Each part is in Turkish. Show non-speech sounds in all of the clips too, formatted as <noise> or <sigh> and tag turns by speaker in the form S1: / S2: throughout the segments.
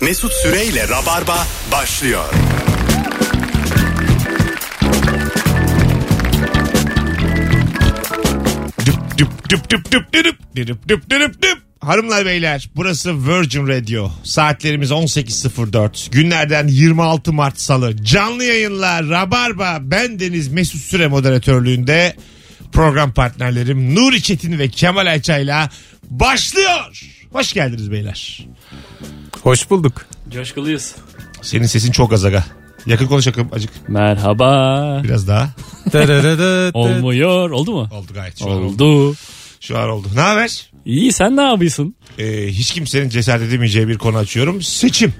S1: Mesut Süreyle Rabarba başlıyor.
S2: Düp düp düp düp düp düp düp düp düp düp. Hanımlar beyler burası Virgin Radio. Saatlerimiz 18.04. Günlerden 26 Mart Salı. Canlı yayınla Rabarba. Ben Deniz Mesut Süre moderatörlüğünde program partnerlerim Nuri Çetin ve Kemal Ayça'yla başlıyor. Hoş geldiniz beyler.
S3: Hoş bulduk.
S4: Coşkuluyuz.
S2: Senin sesin çok az aga. Yakın konuş yakın acık.
S4: Merhaba.
S2: Biraz daha.
S4: Olmuyor. Oldu mu?
S2: Oldu gayet. Şu, An, oldu.
S4: Oldu.
S2: Şu an oldu. Ne haber?
S4: İyi sen ne yapıyorsun?
S2: e, hiç kimsenin cesaret edemeyeceği bir konu açıyorum. Seçim.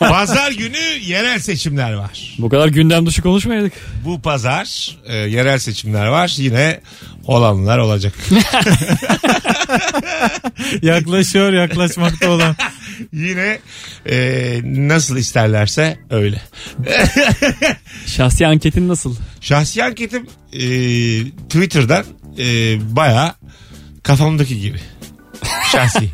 S2: pazar günü yerel seçimler var.
S4: Bu kadar gündem dışı konuşmayaydık.
S2: Bu pazar e, yerel seçimler var. Yine olanlar olacak.
S3: Yaklaşıyor yaklaşmakta olan.
S2: Yine e, nasıl isterlerse öyle.
S4: <laughs> Şahsi anketin nasıl?
S2: Şahsi anketim e, Twitter'dan e, baya kafamdaki gibi. Şahsi.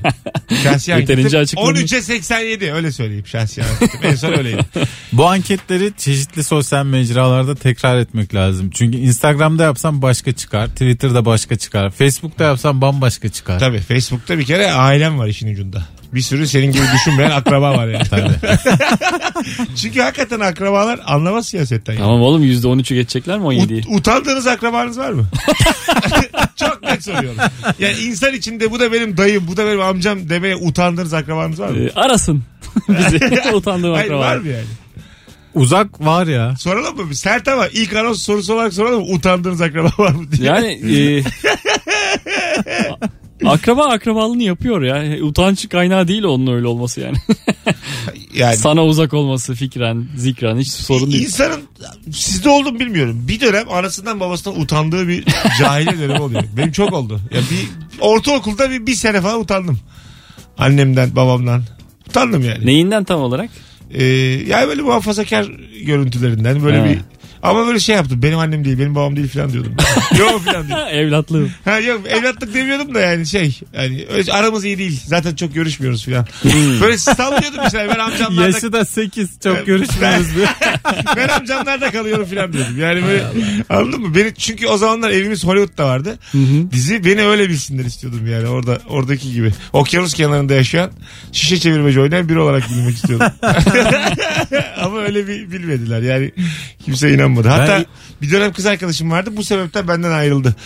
S2: Şahsi anketim
S4: Yeterince açıklamış.
S2: 13'e 87 öyle söyleyeyim şahsi anketim. En son öyleydi.
S3: Bu anketleri çeşitli sosyal mecralarda tekrar etmek lazım. Çünkü Instagram'da yapsam başka çıkar. Twitter'da başka çıkar. Facebook'ta yapsam bambaşka çıkar.
S2: Tabii Facebook'ta bir kere ailem var işin ucunda. Bir sürü senin gibi düşünmeyen akraba var yani. <laughs> Çünkü hakikaten akrabalar anlamaz siyasetten. yani.
S4: Tamam oğlum %13'ü geçecekler mi
S2: Ut-
S4: 17'yi?
S2: utandığınız akrabanız var mı? <laughs> Çok net soruyorum. Yani insan içinde bu da benim dayım, bu da benim amcam demeye utandığınız akrabanız var mı?
S4: Ee, arasın <laughs> bizi.
S2: <laughs>
S4: Utandığım
S2: Hayır
S4: akraba.
S2: var mı yani?
S3: Uzak var ya.
S2: Soralım mı? Sert ama ilk anons sorusu olarak soralım mı? Utandığınız akraba var mı diye.
S4: Yani
S2: <laughs>
S4: e, a- akraba akrabalığını yapıyor ya. E, Utanç kaynağı değil onun öyle olması yani.
S2: Yani
S4: Sana uzak olması fikren, zikren hiç sorun değil.
S2: İnsanın sizde oldu mu bilmiyorum. Bir dönem anasından babasından utandığı bir cahiliye dönemi oluyor. Benim çok oldu. Ya bir ortaokulda bir, bir sene falan utandım. Annemden, babamdan. Utandım yani.
S4: Neyinden tam olarak?
S2: Ee, yani böyle muhafazakar görüntülerinden böyle
S4: Ha.
S2: bir ama böyle şey yaptım. Benim annem değil, benim babam değil falan diyordum. <laughs> yok falan diyordum.
S4: Ha, evlatlığım.
S2: Ha yok evlatlık demiyordum da yani şey. Yani öyle aramız iyi değil. Zaten çok görüşmüyoruz falan.
S4: Hmm.
S2: böyle sallıyordum işte. Ben
S4: <laughs>
S2: amcamlarla
S3: Yaşı da 8 çok görüşmüyoruz.
S2: <laughs>
S3: diyor.
S2: ben amcamlarda kalıyorum filan diyordum. Yani böyle anladın mı? Beni, çünkü o zamanlar evimiz Hollywood'da vardı. Dizi beni öyle bilsinler istiyordum yani orada oradaki gibi. Okyanus kenarında yaşayan şişe çevirmeci oynayan biri olarak bilmek istiyordum. <laughs> Ama öyle bir bilmediler yani kimse inanmadı. Hatta
S3: Ben-
S2: bir dönem kız arkadaşım vardı bu sebepten benden ayrıldı.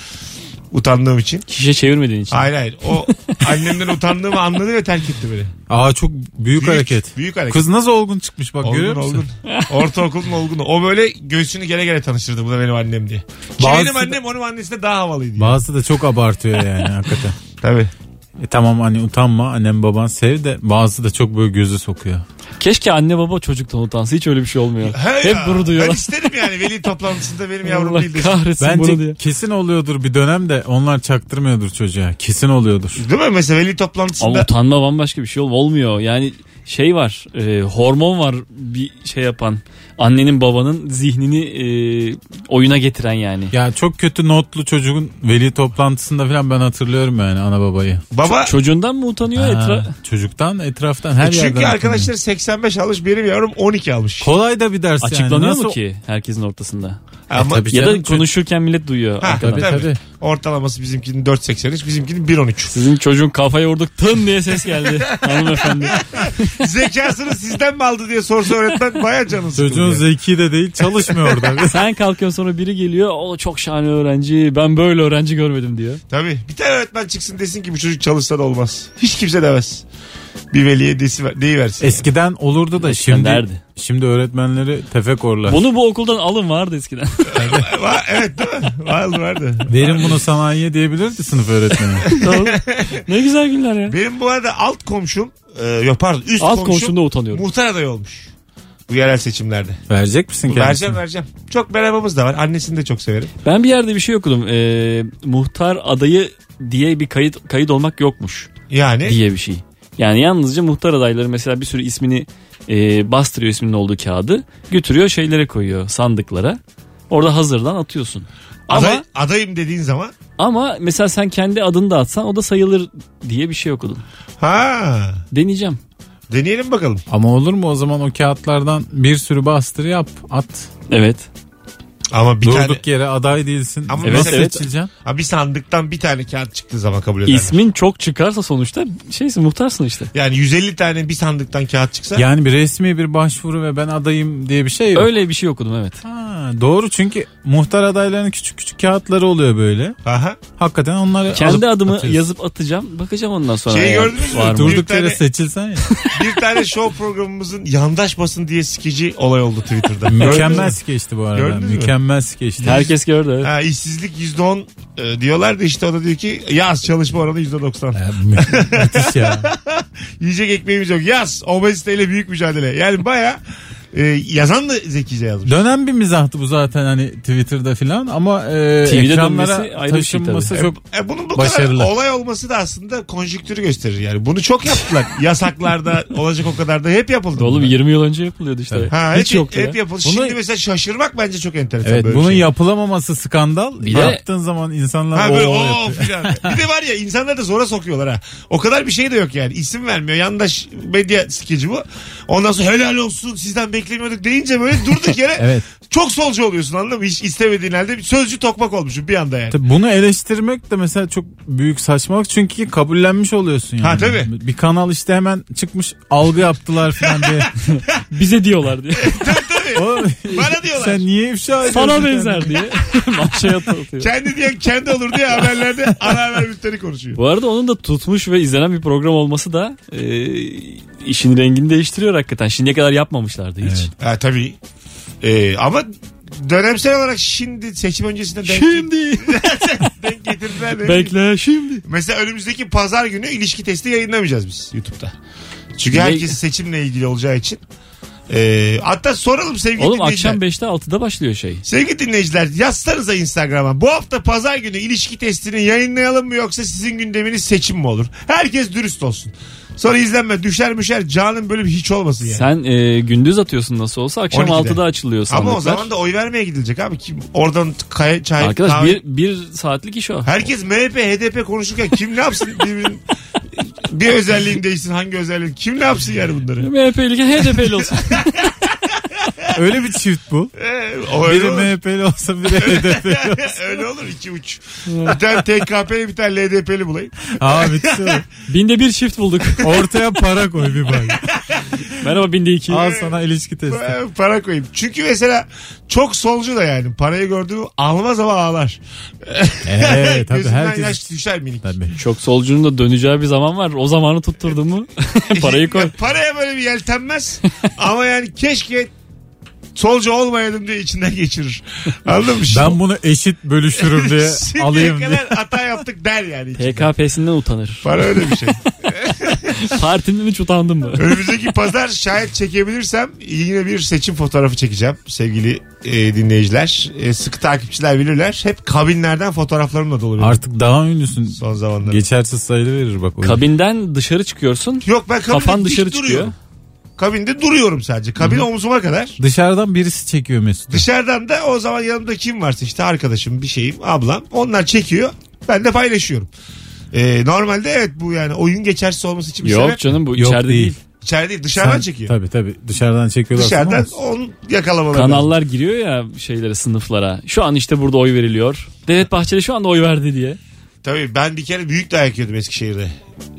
S2: Utandığım için.
S4: Şişe çevirmediğin için.
S2: Hayır hayır. O annemden utandığımı anladı ve terk etti beni.
S3: Aa çok büyük, hareket.
S2: Büyük hareket.
S3: Kız nasıl olgun çıkmış bak
S2: Olgun
S3: görüyor musun?
S2: olgun.
S3: <laughs>
S2: Ortaokulun olgunu. O böyle göğsünü gele gele tanıştırdı. Bu da benim annem diye. Ki
S3: Bazısı
S2: benim
S3: da-
S2: annem onun annesi de daha havalıydı. yani.
S3: Bazısı da çok abartıyor
S2: <laughs>
S3: yani hakikaten.
S2: Tabii.
S3: E tamam hani utanma annem baban sev de bazısı da çok böyle gözü sokuyor.
S4: Keşke anne baba çocuktan utansa hiç öyle bir şey olmuyor.
S2: He
S4: Hep
S2: ya.
S4: bunu
S2: Ben
S4: duyuyorlar.
S2: isterim yani veli toplantısında benim yavrum
S4: Allah
S2: değil desin.
S4: kahretsin bunu
S3: Bence
S4: diye.
S3: kesin oluyordur bir dönem de onlar çaktırmıyordur çocuğa. Kesin oluyordur.
S2: Değil mi? Mesela veli
S4: Ama
S2: toplantısında
S4: utanma bambaşka bir şey ol- olmuyor. Yani şey var e, hormon var bir şey yapan annenin babanın zihnini e, oyuna getiren yani.
S3: Ya çok kötü notlu çocuğun veli toplantısında falan ben hatırlıyorum yani ana babayı.
S2: baba
S4: Çocuğundan mı utanıyor
S3: Ha,
S4: etra?
S3: Çocuktan etraftan her yerden.
S2: E çünkü
S3: hatırlıyorum.
S2: arkadaşlar 85 almış benim yavrum 12 almış.
S3: Kolay da bir ders yani.
S4: Açıklanıyor
S3: Nasıl-
S4: mu ki herkesin ortasında?
S2: Ama
S3: E, tabii. Bir
S4: ya
S3: canım
S4: da
S3: çocuk-
S4: konuşurken millet duyuyor.
S2: Ha,
S4: arkadan.
S2: tabii,
S3: Tabii, tabii.
S2: Ortalaması bizimkinin 4.83 bizimkinin 1.13.
S4: Sizin çocuğun kafaya vurduk tın diye
S2: <laughs>
S4: ses geldi hanımefendi.
S2: Zekasını sizden mi aldı diye sorsa öğretmen baya canı sıkıldı.
S3: Çocuğun
S2: yani.
S3: zeki de değil çalışmıyor
S4: <laughs>
S3: orada.
S4: Sen kalkıyorsun sonra biri geliyor o çok şahane öğrenci ben böyle öğrenci görmedim diyor.
S2: Tabii. Bir tane öğretmen çıksın desin ki bu çocuk çalışsa da olmaz. Hiç kimse demez. Bir veliye desi, deyiversin.
S3: Eskiden olurdu da şimdi
S4: derdi.
S3: şimdi öğretmenleri tefekorlar.
S4: Bunu bu okuldan alın vardı eskiden. <laughs>
S2: <laughs> Va- evet değil mi? Vardı vardı.
S3: Verin bunu sanayiye diyebilirdi
S4: <laughs>
S3: sınıf öğretmeni.
S4: Tamam. ne güzel günler ya.
S2: Benim bu arada alt komşum, e, yok pardon üst
S4: Alt
S2: komşum,
S4: komşumda utanıyorum.
S2: muhtar adayı olmuş. Bu yerel seçimlerde.
S3: Verecek misin kendisini?
S2: Vereceğim vereceğim. Çok merhabamız da var. Annesini de çok severim.
S4: Ben bir yerde bir şey okudum. Ee, muhtar adayı diye bir kayıt kayıt olmak yokmuş
S2: Yani
S4: diye bir şey. Yani yalnızca muhtar adayları mesela bir sürü ismini e, bastırıyor isminin olduğu kağıdı. Götürüyor şeylere koyuyor sandıklara. Orada hazırdan atıyorsun. Ama
S2: aday, adayım dediğin zaman
S4: ama mesela sen kendi adını da atsan o da sayılır diye bir şey okudum.
S2: ha
S4: Deneyeceğim.
S2: Deneyelim bakalım.
S3: Ama olur mu o zaman o kağıtlardan bir sürü bastır yap at.
S4: Evet.
S2: Ama bir
S3: Durduk
S2: tane
S3: yere aday değilsin.
S2: Ama
S3: Nasıl
S4: mesela-
S3: seçileceksin?
S2: Ha, bir sandıktan bir tane kağıt çıktığı zaman kabul ederler.
S4: İsmin çok çıkarsa sonuçta şeysin muhtarsın işte.
S2: Yani 150 tane bir sandıktan kağıt çıksa
S3: Yani bir resmi bir başvuru ve ben adayım diye bir şey yok.
S4: Öyle bir şey okudum evet.
S3: Ha, doğru çünkü muhtar adaylarının küçük küçük kağıtları oluyor böyle.
S2: aha.
S3: Hakikaten onları alıp
S4: Kendi adımı
S3: atıyorsun.
S4: yazıp atacağım. Bakacağım ondan sonra.
S2: Şeyi
S4: eğer
S2: gördünüz mü?
S4: var
S2: Dur-
S3: Durduk
S2: Bir
S3: yere
S2: tane-
S3: seçilsen ya.
S2: bir tane show programımızın yandaş basın diye skeci olay oldu Twitter'da. Gördünüz mü?
S3: Mükemmel skeçti bu arada.
S2: Gördünüz mü?
S3: Mükemmel skeçti.
S4: Herkes gördü. evet.
S2: Ha, işsizlik %10 e, diyorlar da işte o da diyor ki yaz çalışma oranı %90.
S3: Ya, mü- müthiş ya.
S2: Yiyecek ekmeğimiz yok. Yaz obeziteyle büyük mücadele. Yani baya e, yazan da zekice yazmış.
S3: Dönen bir mizahtı bu zaten hani Twitter'da filan ama e,
S4: TV'de dönmesi
S3: ekranlara
S4: ayrı bir şey
S3: taşınması
S4: tabii.
S3: çok
S2: E, bunun bu
S3: Başarılı.
S2: kadar olay olması da aslında konjüktürü gösterir. Yani bunu çok yaptılar. Yasaklarda olacak o kadar da hep yapıldı.
S4: Oğlum
S2: bunlar.
S4: 20 yıl önce yapılıyordu işte.
S2: Ha,
S4: Hiç
S2: hep,
S4: yoktu
S2: hep
S4: ya.
S2: yapıldı.
S3: Bunu-
S2: Şimdi mesela şaşırmak bence çok enteresan.
S3: Evet
S2: böyle
S3: bunun
S2: bir şey.
S3: yapılamaması skandal.
S4: de-
S3: Yaptığın zaman insanlar
S2: Ha
S3: "Oo"
S2: böyle
S3: yapıyor.
S2: "Oo" filan. Bir de var ya insanları da zora sokuyorlar ha. O kadar bir şey de yok yani. İsim vermiyor. Yandaş medya skeci bu. Ondan sonra helal olsun sizden beklemiyorduk deyince böyle durduk yere
S3: <laughs> Evet.
S2: çok solcu oluyorsun anladın mı? Hiç istemediğin halde bir sözcü tokmak olmuşum bir anda yani.
S3: Tabii Bunu eleştirmek de mesela çok büyük saçmalık çünkü kabullenmiş oluyorsun yani.
S2: Ha, tabii.
S3: Bir kanal işte hemen çıkmış algı yaptılar falan
S2: <laughs>
S3: diye.
S4: Bize diyorlar diye.
S3: O-
S2: Bana diyorlar.
S3: Sen niye ifşa ediyorsun?
S4: Sana
S3: kendini?
S2: <laughs>
S4: benzer diye. Manşaya atıyor.
S2: Kendi diye kendi olur diye
S3: <laughs>
S2: haberlerde ana haber bülteni konuşuyor.
S4: Bu arada onun da tutmuş ve izlenen bir program olması da e, işin rengini değiştiriyor hakikaten. Şimdiye kadar yapmamışlardı hiç.
S3: Evet.
S2: Ha tabii. Ee, ama dönemsel olarak şimdi seçim öncesinde denk,
S4: Şimdi.
S2: denk getirdiler. de.
S4: Bekle
S2: <laughs>
S4: şimdi.
S2: Mesela önümüzdeki pazar günü ilişki testi yayınlamayacağız biz YouTube'da. Çünkü
S4: Ne-
S2: herkes seçimle ilgili olacağı için. Ee, hatta soralım sevgili
S4: Oğlum
S2: dinleyiciler.
S4: akşam 5'te 6'da başlıyor şey.
S2: Sevgili dinleyiciler yazsanıza Instagram'a. Bu hafta pazar günü ilişki testini yayınlayalım mı yoksa sizin gündeminiz seçim mi olur? Herkes dürüst olsun. Sonra izlenme düşer müşer canın böyle bir hiç olmasın yani.
S4: Sen e, gündüz atıyorsun nasıl olsa akşam
S2: 12'de.
S4: 6'da açılıyor sandıklar.
S2: Ama o zaman da oy vermeye gidilecek abi. Kim oradan kay, çay,
S4: Arkadaş
S2: kahve-
S4: bir, bir saatlik iş o.
S2: Herkes MHP, HDP konuşurken kim ne
S3: <laughs>
S2: yapsın birbirinin bir özelliğin değilsin hangi özelliğin kim ne yapsın yani bunları?
S4: MHP'liyken HDP'li olsun.
S2: <laughs>
S3: Öyle bir çift bu.
S2: Ee, o öyle
S3: Biri
S2: olur.
S3: MHP'li olsa
S2: <laughs>
S3: biri HDP'li.
S2: Öyle olur iki uç. Bir tane TKP'li bir tane LDP'li bulayım.
S3: Aa bitti. o.
S4: binde bir çift bulduk.
S3: Ortaya para koy bir bak.
S4: Merhaba binde iki.
S3: Al sana ilişki testi.
S2: Ee, Para koyayım. Çünkü mesela çok solcu da yani parayı gördüğü almaz ama ağlar. <laughs>
S3: Evet tabii
S2: Gözünden
S3: herkes.
S2: yaş düşer minik.
S3: Tabii.
S4: Çok solcunun da döneceği bir zaman var. O zamanı
S2: <laughs>
S4: tutturdun mu parayı koy.
S2: Ya paraya böyle bir yeltenmez <laughs> ama yani keşke solcu olmayaydım diye içinden geçirir. Anladın mı?
S3: Ben bunu eşit bölüşürüm diye
S2: <laughs> Şimdiye
S3: alayım diye.
S2: kadar hata yaptık der
S3: <laughs>
S2: yani. içinden.
S4: TKP'sinden utanır.
S2: Para öyle bir şey. <laughs>
S4: Partinden hiç utandın mı?
S2: Önümüzdeki pazar şayet çekebilirsem yine bir seçim fotoğrafı çekeceğim sevgili e, dinleyiciler. E, sıkı takipçiler bilirler. Hep kabinlerden fotoğraflarımla dolu benim
S3: Artık daha ünlüsün.
S2: son zamanlarda.
S3: Geçersiz sayılı verir bak. o.
S4: Kabinden dışarı çıkıyorsun.
S2: Yok ben kabinde
S4: Kafan
S2: dik
S4: dışarı
S2: duruyorum.
S4: çıkıyor.
S2: Kabinde duruyorum sadece. Kabin omzuma kadar.
S3: Dışarıdan birisi çekiyor Mesut.
S2: Dışarıdan da o zaman yanımda kim varsa işte arkadaşım bir şeyim ablam onlar çekiyor. Ben de paylaşıyorum. E, normalde evet bu yani oyun geçersiz olması için bir
S4: Yok
S2: sebep.
S4: canım bu
S3: Yok
S4: içeride değil.
S3: değil.
S2: İçeride değil, dışarıdan
S3: Sen-
S2: çekiyor.
S3: Tabii tabii dışarıdan çekiyorlar.
S2: Dışarıdan
S3: Tamam.
S2: onu yakalamaları. lazım.
S4: Kanallar giriyor ya şeylere sınıflara. Şu an işte burada oy veriliyor. Devlet Bahçeli şu anda oy verdi diye.
S2: Tabii ben bir kere büyük dayak yedim Eskişehir'de.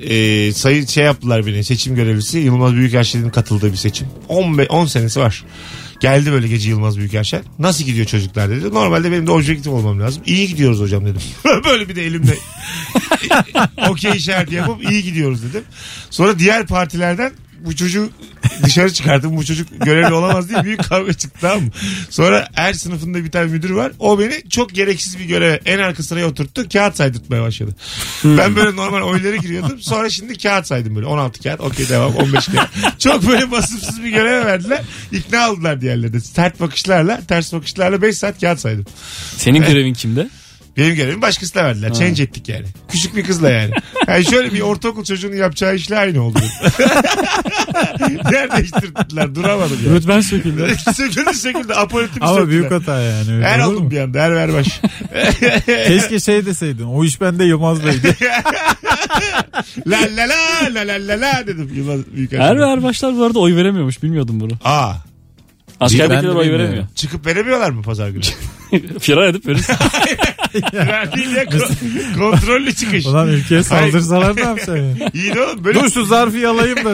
S2: Ee, sayı şey yaptılar beni seçim görevlisi Yılmaz Büyükerşen'in katıldığı bir seçim 10, be- 10 senesi var geldi böyle gece Yılmaz Büyükerşen nasıl gidiyor çocuklar dedi normalde benim de objektif olmam lazım iyi gidiyoruz hocam dedim <laughs> böyle bir de elimle okey işareti yapıp iyi gidiyoruz dedim sonra diğer partilerden bu çocuğu dışarı çıkardım bu çocuk görevli olamaz diye büyük kavga çıktı tamam mı? Sonra her sınıfında bir tane müdür var. O beni çok gereksiz bir göreve en arka sıraya oturttu. Kağıt saydırtmaya başladı. ben böyle normal oylara giriyordum. Sonra şimdi kağıt saydım böyle. 16 kağıt okey devam 15 kağıt. çok böyle basımsız bir göreve verdiler. İkna aldılar diğerleri de. Sert bakışlarla ters bakışlarla 5 saat kağıt saydım.
S4: Senin görevin kimde?
S2: Benim görevimi başkasına verdiler. Change ettik yani. Küçük
S3: <laughs>
S2: bir kızla yani. Yani şöyle bir ortaokul çocuğunun yapacağı işle aynı oldu. yer değiştirdiler. Duramadım ya. <laughs>
S4: Rütben söküldü.
S2: söküldü söküldü. Aparatımı
S3: Ama
S2: söktüler.
S3: büyük hata yani. Öyle
S2: Her
S3: olur mu?
S2: oldum bir anda. Her ver baş.
S3: Keşke şey deseydin. O iş bende Yılmaz Bey'di.
S2: la la la la la la la dedim. Yılmaz büyük
S4: Er ve Erbaşlar bu arada oy veremiyormuş bilmiyordum bunu.
S2: Aa.
S4: Askerdekiler
S3: Ben de
S4: oy
S3: bilmiyorum.
S4: <laughs> veremiyor.
S2: Çıkıp veremiyorlar mı pazar
S3: <laughs>
S2: günü?
S4: Firar edip verirsin.
S2: Verdiğin ya ko- kontrollü çıkış.
S3: Ulan ülkeye saldırsalar ne yapacaksın? ya?
S2: <laughs> İyi de oğlum bölük,
S3: Dur şu zarfı yalayayım da.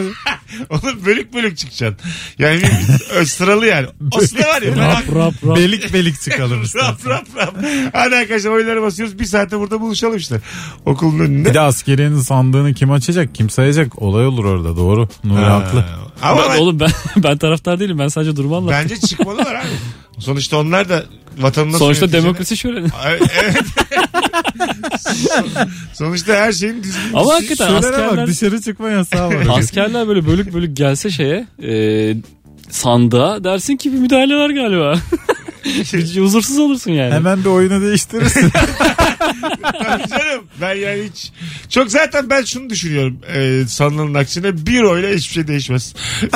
S2: oğlum bölük bölük çıkacaksın. Yani bir- ö- sıralı yani. Aslında var ya. merak-
S4: <laughs> rap
S2: <laughs>
S4: rap.
S3: belik belik çıkalım işte.
S2: Rap rap rap. Hadi arkadaşlar oyunlara basıyoruz. Bir saatte burada buluşalım işte. Okulun önünde.
S3: Bir de askeriyenin sandığını kim açacak kim sayacak olay olur orada doğru. Nuri haklı.
S2: Ama ben-
S4: Oğlum ben <laughs> ben taraftar değilim. Ben sadece durumu anlattım.
S2: bence çıkmalılar abi. Sonuçta onlar da vatanına <laughs>
S4: Sonuçta demokrasi şöleni.
S2: Evet. <laughs> Sonuçta her şeyin düzgün.
S4: Ama hakikaten
S3: Şölene
S4: askerler
S3: bak dışarı çıkma yasağı
S2: <laughs>
S3: var. Hani
S4: askerler böyle bölük bölük gelse şeye e, sandığa dersin ki bir müdahale var galiba. Bir şey Huzursuz olursun yani.
S3: Hemen bir oyunu değiştirirsin.
S2: Tabii canım. Ben yani hiç. Çok zaten ben şunu düşünüyorum. E, sanılanın aksine bir oyla hiçbir şey değişmez. <laughs>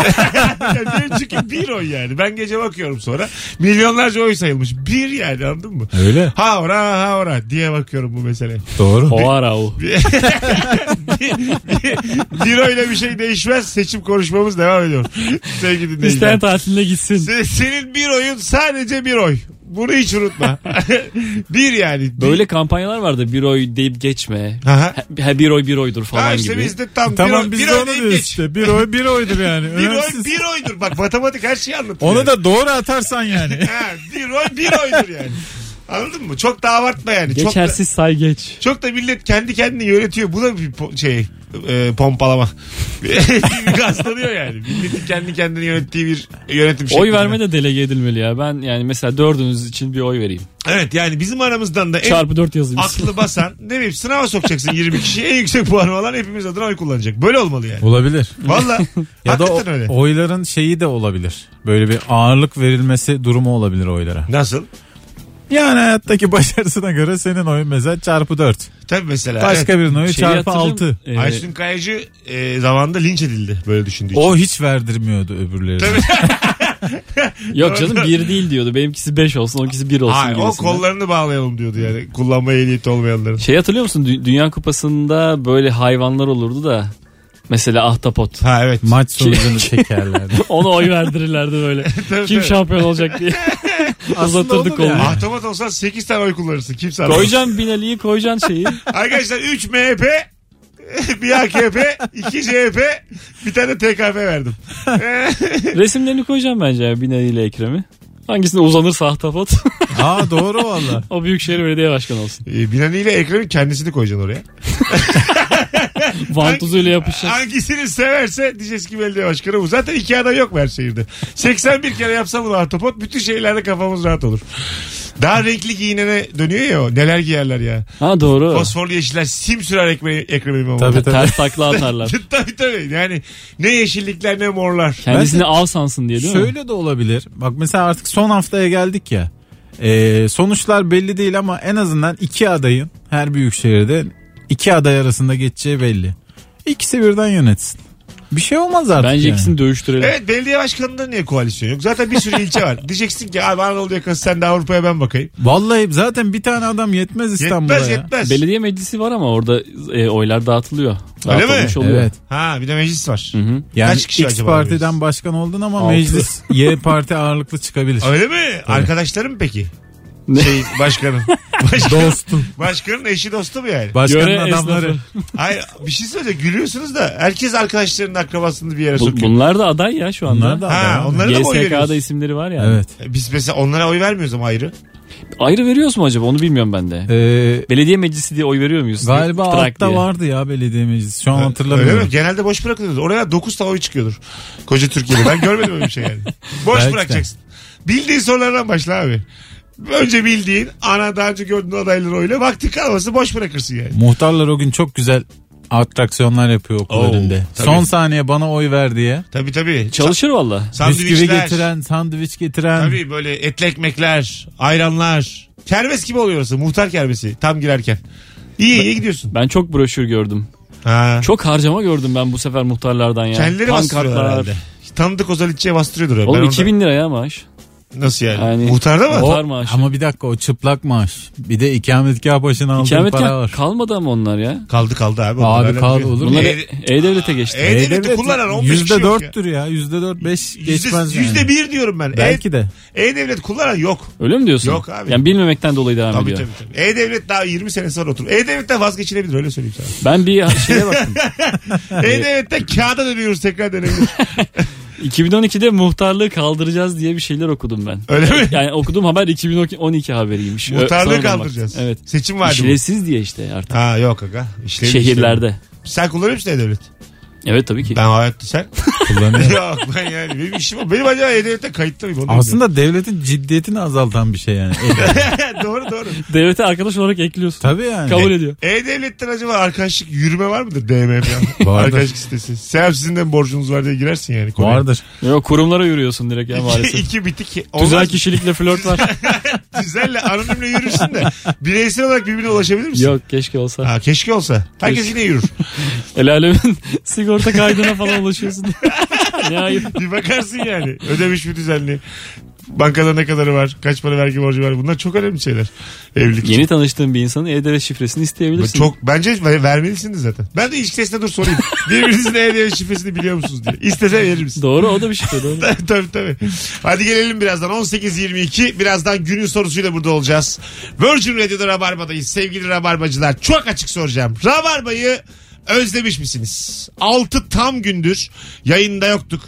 S2: yani benim çünkü bir oy yani. Ben gece bakıyorum sonra. Milyonlarca oy sayılmış. Bir yani anladın mı?
S3: <laughs> Öyle.
S2: Ha ora ha ora diye bakıyorum bu mesele. <laughs>
S3: Doğru.
S4: O ara o.
S2: Bir oyla bir şey değişmez. Seçim konuşmamız devam ediyor. Sevgili dinleyiciler.
S4: İster tatiline gitsin.
S2: Se- Senin bir oyun sadece bir oy. Bunu hiç unutma. <laughs> bir yani.
S4: Böyle kampanyalar vardı. Bir oy deyip geçme.
S2: Aha.
S4: Ha- Ha, bir oy bir oydur falan
S2: Ha işte
S4: gibi.
S2: bizde tam bir
S3: Tamam
S2: oy,
S3: biz
S2: bir
S3: de
S2: oy
S3: onu
S2: deyip
S3: diyoruz
S2: geç.
S3: işte. Bir oy bir oydur yani.
S2: <laughs> Bir oy
S3: Önemsiz.
S2: bir oydur. Bak matematik her şeyi anlatıyor.
S3: Onu da doğru atarsan yani.
S2: Ha, bir oy bir oydur yani. Anladın mı? Çok da abartma yani. Çok da,
S4: Geçersiz say geç.
S2: çok da millet kendi kendini yönetiyor. Bu da bir po- şey e, pompalama. <laughs> Bir Rastlanıyor yani. Milletin kendi kendini yönettiği bir yönetim
S4: Oy
S2: şekli.
S4: verme de delege edilmeli ya. Ben yani mesela dördünüz için bir oy vereyim.
S2: Evet yani bizim aramızdan da en
S4: Çarpı dört yazayım.
S2: aklı basan ne bileyim sınava sokacaksın 20 kişiyi en yüksek puanı alan hepimiz adına oy kullanacak. Böyle olmalı yani.
S3: <laughs> Olabilir.
S2: Valla.
S3: <laughs> Ya da
S2: hakikaten
S3: o-
S2: öyle.
S3: oyların şeyi de olabilir. Böyle bir ağırlık verilmesi durumu olabilir oylara.
S2: Nasıl?
S3: Yani hayattaki başarısına göre senin oyun mesela çarpı 4.
S2: Tabii mesela.
S3: Başka
S2: evet.
S3: birinin
S4: <laughs>
S3: oyu
S4: Şeyi
S3: çarpı
S4: hatırlıyor
S3: 6.
S4: musun? Ee,
S2: Aysun Kayacı e, zamanında linç edildi böyle düşündüğü için.
S3: O hiç verdirmiyordu öbürleri. <laughs>
S4: Yok canım bir değil diyordu. Benimkisi 5 olsun, onunkisi 1 olsun.
S2: Hayır, o
S4: gibisinden.
S2: kollarını bağlayalım diyordu yani. Kullanmaya ehliyeti olmayanların.
S4: Şey hatırlıyor musun? Dü- Dünya Kupası'nda böyle hayvanlar olurdu da. Mesela ahtapot. <laughs>
S2: Ha evet. Şey-
S3: Maç sonucunu çekerlerdi.
S2: <laughs>
S4: Ona oy verdirirlerdi böyle.
S2: Tabii,
S4: Kim
S2: tabii.
S4: şampiyon
S2: <laughs>
S4: olacak diye. <laughs> Uzatırdık
S3: olur
S4: kolu.
S3: yani.
S2: Ahtamat olsan 8 tane oy kullanırsın. Kimse anlamaz.
S4: Koyacaksın Binali'yi, koyacaksın şeyi.
S2: Arkadaşlar 3 MHP, <laughs> bir AKP, 2 CHP, bir tane TKP verdim.
S4: Resimlerini koyacaksın bence ya Binali ile Ekrem'i. Hangisine uzanırsa ahtapot <laughs>
S3: Aa doğru valla.
S4: o Büyükşehir Belediye Başkanı olsun.
S2: Ee, Binali ile Ekrem'in kendisini koyacaksın oraya.
S4: Vantuzuyla yapışacak.
S2: Hangisini severse diyeceğiz ki belediye başkanı bu. Zaten iki aday yok mu her şehirde? 81 kere yapsam bunu ahtapot bütün şeylerde kafamız rahat olur. Daha renkli giyinene dönüyor ya o. Neler giyerler ya.
S4: Ha doğru.
S2: Fosforlu yeşiller sim sürer ekmeği, Ekrem İmamoğlu.
S3: Tabii.
S4: Ters takla atarlar.
S2: <laughs> tabii tabii. Yani ne yeşillikler ne morlar.
S4: Kendisini av sansın diye değil mi?
S3: Şöyle de olabilir. Bak mesela artık son haftaya geldik ya. Ee, sonuçlar belli değil ama en azından iki adayın her büyük şehirde iki aday arasında geçeceği belli. İkisi birden yönetsin. Bir şey olmaz artık.
S4: Bence
S3: yani.
S4: ikisini dövüştürelim.
S2: Evet belediye başkanında niye koalisyon yok? Zaten bir sürü ilçe
S4: <laughs>
S2: var. Diyeceksin ki abi Anadolu yakası sen de Avrupa'ya ben bakayım.
S3: Vallahi zaten bir tane adam yetmez İstanbul'a
S2: Yetmez
S3: ya.
S2: yetmez.
S4: Belediye meclisi var ama orada e, oylar dağıtılıyor.
S2: Öyle mi?
S4: Dağıtılmış oluyor.
S3: Evet.
S2: Ha bir de meclis var.
S4: hı.
S3: Yani
S2: Kaç kişi
S3: X
S2: acaba
S3: partiden
S2: arıyoruz?
S3: başkan oldun ama
S4: Altı.
S3: meclis Y parti ağırlıklı çıkabilir.
S2: Öyle mi? Arkadaşlarım peki?
S4: Ne?
S2: Şey,
S4: <laughs>
S2: başkanım.
S3: Dostum.
S2: Başkanın eşi dostu mu yani?
S3: Başkanın
S4: Göre
S3: adamları.
S4: esnafı.
S2: Hayır bir şey söyleyeceğim gülüyorsunuz da herkes arkadaşlarının akrabasını bir yere
S4: Bu-
S2: sokuyor.
S4: bunlar da aday ya şu anda.
S3: Bunlar da
S2: Ha,
S3: adam.
S2: onlara da mı oy
S4: GSK'da
S2: veriyoruz?
S4: isimleri var ya.
S3: Evet.
S2: Biz mesela onlara oy vermiyoruz ama ayrı.
S4: Ayrı veriyoruz mu acaba onu bilmiyorum ben de.
S3: Ee,
S4: Belediye meclisi diye oy veriyor muyuz?
S3: galiba
S4: Trak
S3: altta
S4: diye.
S3: vardı ya belediye meclisi. Şu an
S2: Öyle
S3: hatırlamıyorum.
S2: mi? Genelde boş bırakıyoruz. Oraya 9 tane oy çıkıyordur. Koca Türkiye'de. Ben görmedim öyle bir şey
S3: <laughs>
S2: yani. Boş
S3: Belki de.
S2: bırakacaksın. Bildiğin sorulardan başla abi. Önce bildiğin ana daha önce gördüğün adayları oyla vakti kalması boş bırakırsın yani.
S3: Muhtarlar o gün çok güzel atraksiyonlar yapıyor okul
S2: Oo,
S3: önünde.
S2: tabii.
S3: Son saniye bana oy ver diye.
S2: Tabii tabii.
S4: Çalışır valla.
S3: Bisküvi
S2: Sandviçler.
S3: getiren, sandviç getiren.
S2: Tabii böyle etli ekmekler, ayranlar. Kermes gibi oluyor orası. Muhtar kermesi tam girerken. İyi iyi gidiyorsun.
S4: Ben çok broşür gördüm.
S2: Ha.
S4: Çok harcama gördüm ben bu sefer muhtarlardan ya.
S2: Kendileri bastırıyorlar
S4: Pankartlar.
S2: herhalde. tanıdık Ozaliç'e bastırıyordur. ya. Ben
S4: Oğlum
S2: orada-
S4: 2000 lira ya maaş.
S2: Nasıl yani?
S4: Yani-
S2: Muhtarda mı?
S4: Muhtar maaşı.
S3: Ama bir dakika o çıplak maaş. Bir de ikametgah başına aldığın para
S4: İkametgah
S3: var.
S4: kalmadı ama onlar ya.
S2: Kaldı kaldı abi.
S3: Abi
S2: Onlarla
S3: kaldı
S2: bir-
S3: olur mu?
S4: Bunlar
S2: E-
S4: E- E-Devlet'e geçti.
S2: E- E-Devlet'i kullanan 15 kişi
S3: Yüzde
S2: yok
S3: dörttür ya. Yüzde dört beş geçmez
S2: Yüzde,
S3: yani.
S2: yüzde bir diyorum ben.
S3: Belki de.
S2: E, E-Devlet kullanan yok.
S4: Öyle mi diyorsun?
S2: Yok abi.
S4: Yani bilmemekten dolayı devam
S2: Tabii
S4: ediyor.
S2: tabii. tabii. E-Devlet daha 20 sene sonra oturur. E-Devlet'ten vazgeçilebilir öyle söyleyeyim sana.
S4: Ben bir
S2: <laughs>
S4: şeye baktım.
S2: E-Devlet'ten kağıda dönüyoruz tekrar dönebilir.
S4: 2012'de muhtarlığı kaldıracağız diye bir şeyler okudum ben.
S2: Öyle mi?
S4: Yani okuduğum haber 2012 haberiymiş. Ö-
S2: Muhtarlığı
S4: sonradan
S2: kaldıracağız.
S4: baktım. Evet.
S2: Seçim var mı?
S4: İşlevsiz diye işte artık.
S2: Ha yok aga. İşlevi-
S4: Şehirlerde.
S2: Sen kullanıyor musun E-Devlet?
S4: Evet tabii ki.
S2: Ben hayatta sen. <laughs>
S3: Kullanıyor.
S2: yok ben yani benim işim o. Benim acaba E-Devlet'te kayıtlı mıyım? Onu
S3: Aslında devletin ciddiyetini azaltan bir
S2: <laughs>
S3: şey yani. E,
S2: bilmiyorum. doğru doğru.
S4: Devlete arkadaş olarak ekliyorsun.
S3: Tabii yani.
S4: Kabul ediyor.
S2: E-Devlet'ten acaba arkadaşlık yürüme var mıdır DM'ye falan?
S3: Vardır.
S2: arkadaşlık sitesi. Sen sizin de mi borcunuz var diye girersin yani. konuya.
S3: Vardır.
S4: Yok kurumlara yürüyorsun direkt
S2: <laughs>
S4: ya
S2: İki,
S4: maalesef.
S2: iki bitik.
S4: Güzel
S2: Olmaz.
S4: kişilikle
S2: <laughs>
S4: flört var.
S2: Güzelle anonimle yürürsün de bireysel olarak birbirine ulaşabilir misin?
S4: Yok keşke olsa.
S2: Ha, keşke olsa. Herkes yine yürür.
S4: El alemin <laughs> sigorta kaydına falan
S2: <laughs>
S4: ulaşıyorsun. ne ayıp.
S2: Bir bakarsın yani. Ödemiş mi düzenli? Bankada ne kadarı var? Kaç para vergi borcu var? Bunlar çok önemli şeyler. Evlilik. için.
S4: Yeni tanıştığın bir insanın E-Devlet şifresini
S2: Bu
S4: isteyebilirsin.
S2: Çok bence ver- vermelisiniz zaten. Ben de ilişki testine dur sorayım.
S4: <laughs>
S2: Birbirinizin E-Devlet şifresini biliyor musunuz diye. İstese verir misin?
S4: Doğru o da bir
S2: <laughs>
S4: şifre doğru.
S2: tabii tabii, tabii. Hadi gelelim birazdan 18.22 birazdan günün sorusuyla burada olacağız. Virgin Radio'da Rabarba'dayız sevgili Rabarbacılar çok açık soracağım. Rabarba'yı özlemiş misiniz? 6 tam gündür yayında yoktuk.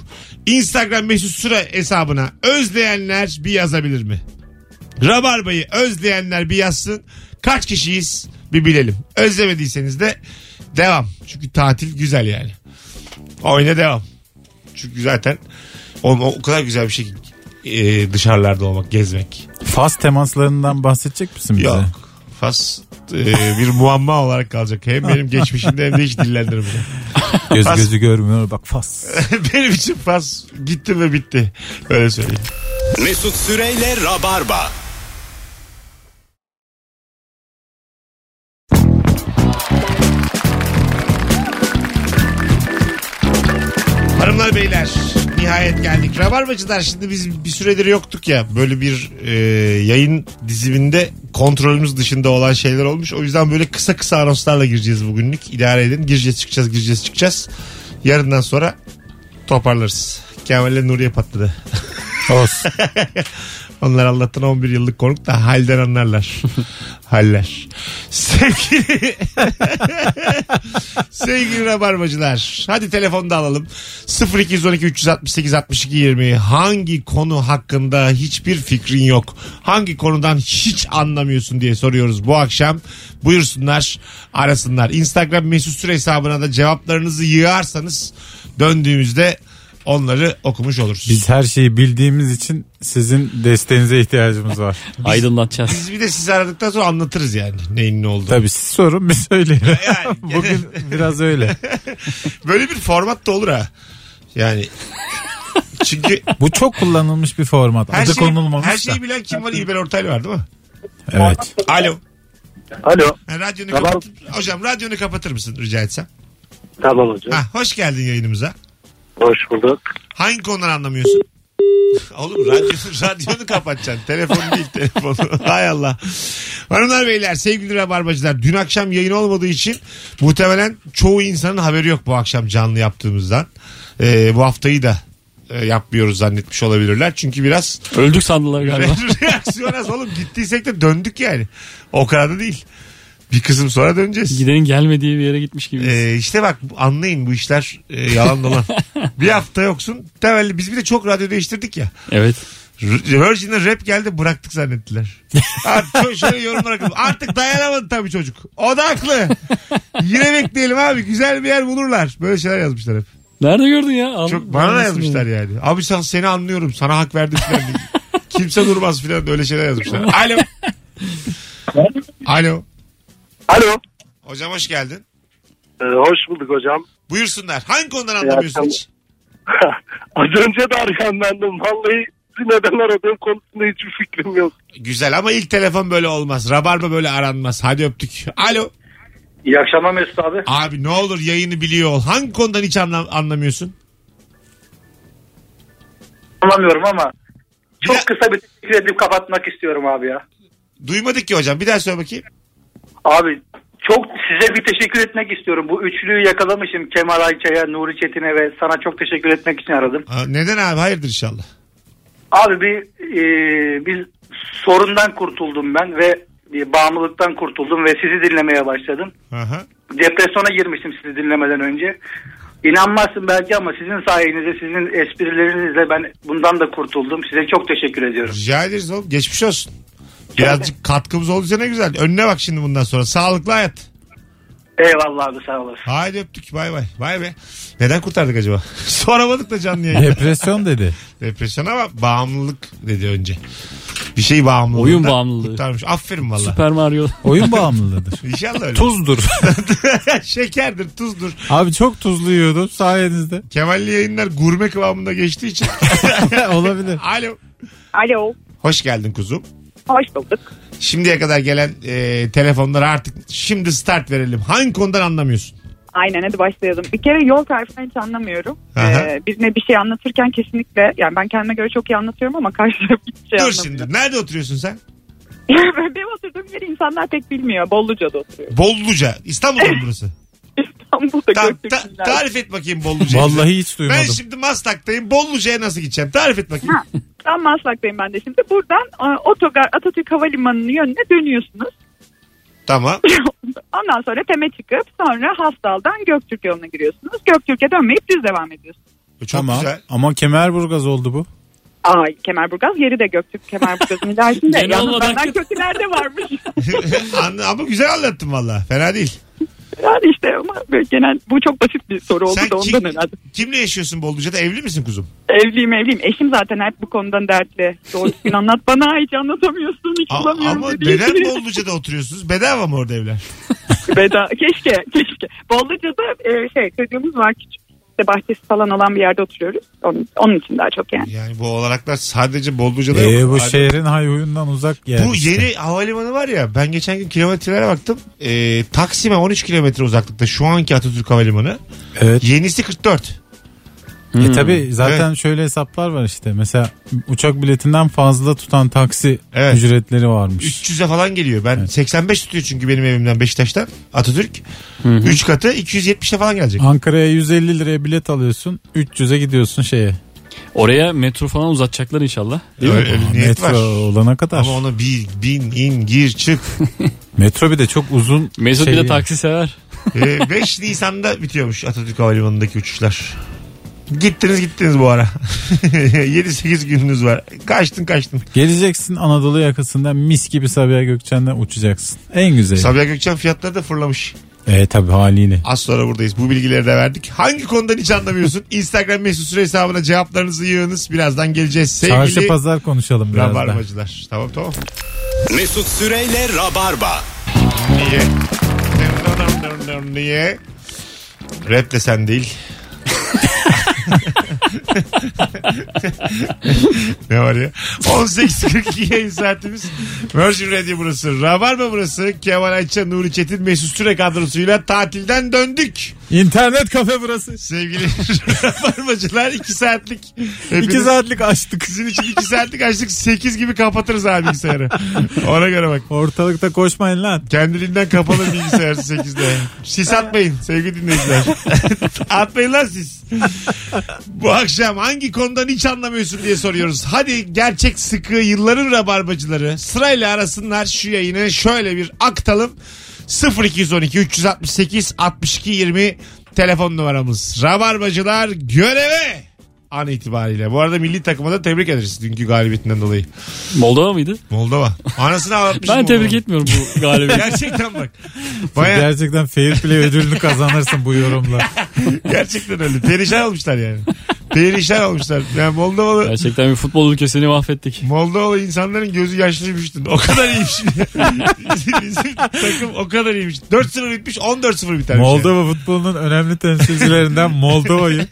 S2: Instagram mesut süre hesabına özleyenler bir yazabilir mi? Rabarba'yı özleyenler bir yazsın. Kaç kişiyiz bir bilelim. Özlemediyseniz de devam. Çünkü tatil güzel yani. Oyna devam. Çünkü zaten o, o kadar güzel bir şey ki, e, dışarılarda olmak, gezmek.
S3: Fas temaslarından bahsedecek misin bize?
S2: Yok. Fas e, bir muamma olarak kalacak. Hem benim geçmişimde hem de hiç dillendirmeden.
S3: Göz
S2: Fas-
S3: gözü görmüyor bak fas.
S2: <laughs> benim için Fas gitti ve bitti. Öyle söyleyeyim.
S1: Mesut Süreyle Rabarba.
S2: Hanımlar beyler nihayet geldik. Rabarbacılar şimdi biz bir süredir yoktuk ya böyle bir e, yayın diziminde kontrolümüz dışında olan şeyler olmuş. O yüzden böyle kısa kısa anonslarla gireceğiz bugünlük. İdare edin gireceğiz çıkacağız gireceğiz çıkacağız. Yarından sonra toparlarız. Kemal'le Nuriye patladı.
S3: Olsun.
S2: <laughs> Onlar Allah'tan 11 yıllık konuk da halden anlarlar. Haller. Sevgili <laughs> Sevgili Rabarbacılar. Hadi telefonda alalım. 0212 368 62 20. Hangi konu hakkında hiçbir fikrin yok? Hangi konudan hiç anlamıyorsun diye soruyoruz bu akşam. Buyursunlar arasınlar. Instagram mesut süre hesabına da cevaplarınızı yığarsanız döndüğümüzde onları okumuş oluruz.
S3: Biz her şeyi bildiğimiz için sizin desteğinize
S2: <laughs>
S3: ihtiyacımız var.
S4: Aydınlatacağız.
S2: Biz bir de sizi aradıktan sonra anlatırız yani neyin ne olduğunu.
S3: Tabii siz sorun biz
S2: <laughs>
S3: söyleyelim. <laughs>
S2: Yani gene-
S3: Bugün biraz öyle.
S2: Böyle bir format da olur ha. Yani çünkü
S3: Bu çok kullanılmış bir format.
S2: her
S3: Adı
S2: şeyi,
S3: konulmamış
S2: her şey
S3: da.
S2: şeyi bilen kim var? İlber Ortaylı var değil mi?
S3: Evet.
S2: Alo.
S5: Alo.
S2: Ha, radyonu
S5: Tamam.
S2: kapat. Hocam radyonu kapatır mısın rica etsem?
S5: Tamam hocam.
S2: Ha, hoş geldin yayınımıza.
S5: Hoş bulduk.
S2: Hangi konuları anlamıyorsun? <laughs> Oğlum radyonu, <laughs> radyonu kapatacaksın. Telefon değil telefonu. <laughs> Hay Allah. Hanımlar beyler sevgili rabarbacılar dün akşam yayın olmadığı için muhtemelen çoğu insanın haberi yok bu akşam canlı yaptığımızdan. Ee, bu haftayı da e, yapmıyoruz zannetmiş olabilirler. Çünkü biraz
S4: Öldük sandılar galiba.
S2: <laughs> reaksiyon az oğlum gittiysek de döndük yani. O kadar da değil. Bir kısım sonra döneceğiz.
S4: <laughs> Gidenin gelmediği bir yere gitmiş gibi.
S2: Ee, işte bak anlayın bu işler e, yalan dolan. bir hafta yoksun. Temelli biz bir de çok radyo değiştirdik ya.
S4: evet.
S2: R- Virgin'e rap geldi bıraktık zannettiler. Artık şöyle yorumlar akıllı. Artık dayanamadı tabii çocuk. O da haklı. Yine bekleyelim abi. Güzel bir yer bulurlar. Böyle şeyler yazmışlar hep.
S4: Nerede gördün ya? Al-
S2: Çok bana da
S4: Anlasın
S2: yazmışlar
S4: beni.
S2: yani. Abi sen seni anlıyorum. Sana hak verdim falan. diye. Kimse durmaz falan da öyle şeyler yazmışlar. Alo. Alo.
S5: Alo.
S2: Hocam hoş geldin.
S5: Ee, hoş bulduk
S6: <laughs>
S5: hocam.
S2: Buyursunlar. Hangi konudan anlamıyorsun hiç?
S5: Az önce de arayanlandım. Vallahi sizi neden aradığım konusunda hiçbir fikrim yok.
S2: Güzel ama ilk telefon böyle olmaz. Rabarba böyle aranmaz. Hadi öptük. Alo.
S7: İyi akşamlar Mesut abi.
S2: Abi ne olur yayını biliyor ol. Hangi konudan hiç anla- anlamıyorsun?
S7: anlamıyorum ama çok
S2: Ya-
S7: kısa bir teşekkür edip kapatmak istiyorum abi ya.
S2: Duymadık ki hocam. Bir daha söyle bakayım.
S7: Abi çok size bir teşekkür etmek istiyorum. Bu üçlüyü yakalamışım Kemal Ayça'ya, Nuri Çetin'e ve sana çok teşekkür etmek için aradım.
S2: Aa, neden abi? Hayırdır inşallah.
S7: Abi bir e, bir sorundan kurtuldum ben ve bir bağımlılıktan kurtuldum ve sizi dinlemeye başladım.
S2: Aha.
S7: Depresyona girmiştim sizi dinlemeden önce. İnanmazsın belki ama sizin sayenizde, sizin esprilerinizle ben bundan da kurtuldum. Size çok teşekkür ediyorum.
S2: Rica ederiz oğlum. Geçmiş olsun. Birazcık katkımız olduysa ne güzel. Önüne bak şimdi bundan sonra. Sağlıklı hayat.
S7: Eyvallah abi sağ olasın.
S2: Haydi öptük. Bay bay. Vay be. Neden kurtardık acaba? <laughs> Soramadık da canlı yayında.
S3: Depresyon dedi.
S2: Depresyon ama bağımlılık dedi önce. Bir şey bağımlılığı.
S4: Oyun bağımlılığı.
S2: Kurtarmış. Aferin valla.
S4: Süper
S2: <laughs>
S4: Mario.
S3: Oyun bağımlılığıdır.
S2: İnşallah öyle.
S3: Tuzdur.
S2: <laughs>
S3: <laughs>
S2: Şekerdir, tuzdur.
S3: Abi çok tuzlu
S2: <laughs>
S3: yiyordum sayenizde.
S2: Kemal'li yayınlar gurme kıvamında geçtiği <laughs> için.
S3: Olabilir.
S2: Alo.
S8: Alo.
S2: Hoş geldin kuzum.
S8: Hoş bulduk.
S2: Şimdiye kadar gelen e, telefonlara artık şimdi start verelim. Hangi konudan anlamıyorsun?
S8: Şey Aynen hadi başlayalım. Bir kere yol tarifini hiç anlamıyorum.
S2: Aha.
S8: Ee, birine bir şey anlatırken kesinlikle yani ben kendime göre çok iyi anlatıyorum ama karşı taraf hiçbir şey
S2: Dur
S8: anlamıyor.
S2: şimdi. Nerede oturuyorsun sen?
S8: <laughs> Yani böyle benim oturduğum yeri insanlar pek bilmiyor. Bolluca'da oturuyorum. <laughs>
S2: Bolluca. İstanbul'da mı burası?
S8: İstanbul'da
S2: Tamam, ta-
S8: Göktürk'ünler.
S2: tarif et bakayım Bolluca'yı. bize.
S3: Vallahi hiç
S2: Ben
S3: duymadım.
S2: şimdi Maslak'tayım. Bolluca'ya nasıl gideceğim? Tarif et bakayım.
S8: Ha, tam Maslak'tayım ben de şimdi. Buradan e, otogar Atatürk Havalimanı'nın yönüne dönüyorsunuz. <laughs>
S2: Tamam.
S8: Ondan sonra teme çıkıp sonra Hastal'dan Göktürk yoluna giriyorsunuz. Göktürk'e dönmeyip düz devam ediyorsunuz.
S2: Çok
S3: Tamam.
S2: güzel. <laughs>
S3: Ama Kemerburgaz oldu bu.
S8: Ay Kemerburgaz yeri de
S2: <laughs>
S8: Göktürk Kemerburgaz'ın ilerisinde.
S4: Gene
S8: Yalnız
S4: olmadan-
S8: benden kötüler de varmış.
S2: Anla- Ama güzel anlattın valla. Fena değil.
S8: yani işte ama böyle genel bu çok basit bir soru oldu
S2: Sen
S8: da ondan
S2: kim-
S8: herhalde.
S2: Kimle yaşıyorsun Bolluca'da? Evli misin kuzum?
S8: Evliyim evliyim. Eşim zaten hep bu konudan dertli.
S2: <laughs>
S8: Doğru düzgün anlat bana hiç anlatamıyorsun hiç
S2: A-
S8: bulamıyorum.
S2: ama
S8: dediği <laughs>
S2: neden
S8: için.
S2: Bolluca'da oturuyorsunuz? Bedava mı orada evler?
S8: Veda. Keşke, keşke. Bolluca'da e, şey çocuğumuz var küçük. İşte bahçesi falan olan bir yerde oturuyoruz. Onun, onun için daha çok yani.
S2: Yani bu olanaklar sadece Bolluca'da
S3: Ee,
S2: yok.
S3: bu
S2: Abi,
S3: şehrin hayhuyundan uzak yer.
S2: bu
S3: işte.
S2: yeni havalimanı var ya ben geçen gün kilometrelere baktım. Ee, Taksim'e 13 kilometre uzaklıkta şu anki Atatürk Havalimanı.
S3: Evet.
S2: Yenisi 44.
S3: E tabi zaten şöyle hesaplar var işte. Mesela uçak biletinden fazla tutan taksi
S2: Evet.
S3: ücretleri varmış.
S2: 300'e falan geliyor. Ben 85 tutuyor çünkü benim evimden Beşiktaş'tan Atatürk. 3 katı 270'e falan gelecek.
S3: Ankara'ya 150 liraya bilet alıyorsun. 300'e gidiyorsun şeye.
S4: Oraya metro falan uzatacaklar inşallah.
S2: Öyle, öyle
S3: Aa,
S2: niyet
S3: Ah, metro
S2: var.
S3: olana kadar.
S2: Ama ona bir bin in gir çık.
S3: Metro bir de çok uzun.
S4: Mesut
S3: şey
S4: bir de
S3: yani.
S4: taksi sever.
S3: <laughs>
S2: Ee, 5 Nisan'da bitiyormuş Atatürk Havalimanı'ndaki uçuşlar. Gittiniz gittiniz bu ara. <laughs> 7-8 gününüz var. Kaçtın kaçtın.
S3: Geleceksin Anadolu yakasından mis gibi Sabiha Gökçen'den uçacaksın. En güzeli.
S2: Sabiha Gökçen fiyatları da fırlamış.
S3: e tabi haliyle.
S2: Az sonra buradayız. Bu bilgileri de verdik. Hangi konudan hiç anlamıyorsun? Instagram mesut süre hesabına cevaplarınızı yığınız. Birazdan geleceğiz.
S3: Çarşı
S2: Sevgili
S3: pazar konuşalım biraz daha.
S2: rabarbacılar. Tamam tamam.
S1: Mesut Süreyle Rabarba.
S2: Niye? Niye? Rap de sen değil. ne var ya? 18.42 yayın saatimiz. Virgin Radio burası. Rabarba burası. Kemal Ayça, Nuri Çetin, Mesut Süre kadrosuyla tatilden döndük.
S3: İnternet kafe burası.
S2: Sevgili <laughs> Rabarbacılar 2 saatlik. hepiniz-
S3: 2 saatlik açtık.
S2: Sizin için 2 saatlik açtık. 8 gibi kapatırız abi bilgisayarı. Ona göre bak.
S3: Ortalıkta koşmayın lan.
S2: Kendiliğinden
S4: <laughs>
S2: kapalı bilgisayar 8'de. Sis atmayın sevgili dinleyiciler. atmayın lan siz. Bu akşam hangi konudan hiç anlamıyorsun diye soruyoruz. Hadi gerçek sıkı yılların rabarbacıları sırayla arasınlar şu yayını şöyle bir aktalım. 0212 368 62 20 telefon numaramız. Rabarbacılar göreve an itibariyle. Bu arada milli takıma da tebrik ederiz dünkü galibiyetinden dolayı.
S4: Moldova mıydı?
S2: Moldova.
S4: <laughs>
S2: Anasını ağlatmışım.
S4: Ben tebrik
S2: Moldova.
S4: etmiyorum
S2: <laughs>
S4: bu galibiyeti.
S2: Gerçekten bak. Baya
S3: Gerçekten fair
S2: <laughs>
S3: play ödülünü kazanırsın bu yorumla.
S2: gerçekten öyle. Perişan olmuşlar yani. Perişan olmuşlar. Yani Moldovalı
S4: Gerçekten bir futbol ülkesini mahvettik.
S2: Moldovalı insanların gözü yaşlıymış. O kadar
S3: <laughs>
S2: iyiymiş. bizim, bizim takım o kadar iyiymiş. 4-0 bitmiş 14-0 bitermiş.
S3: Moldova futbolunun önemli
S2: <laughs>
S3: temsilcilerinden Moldova'yı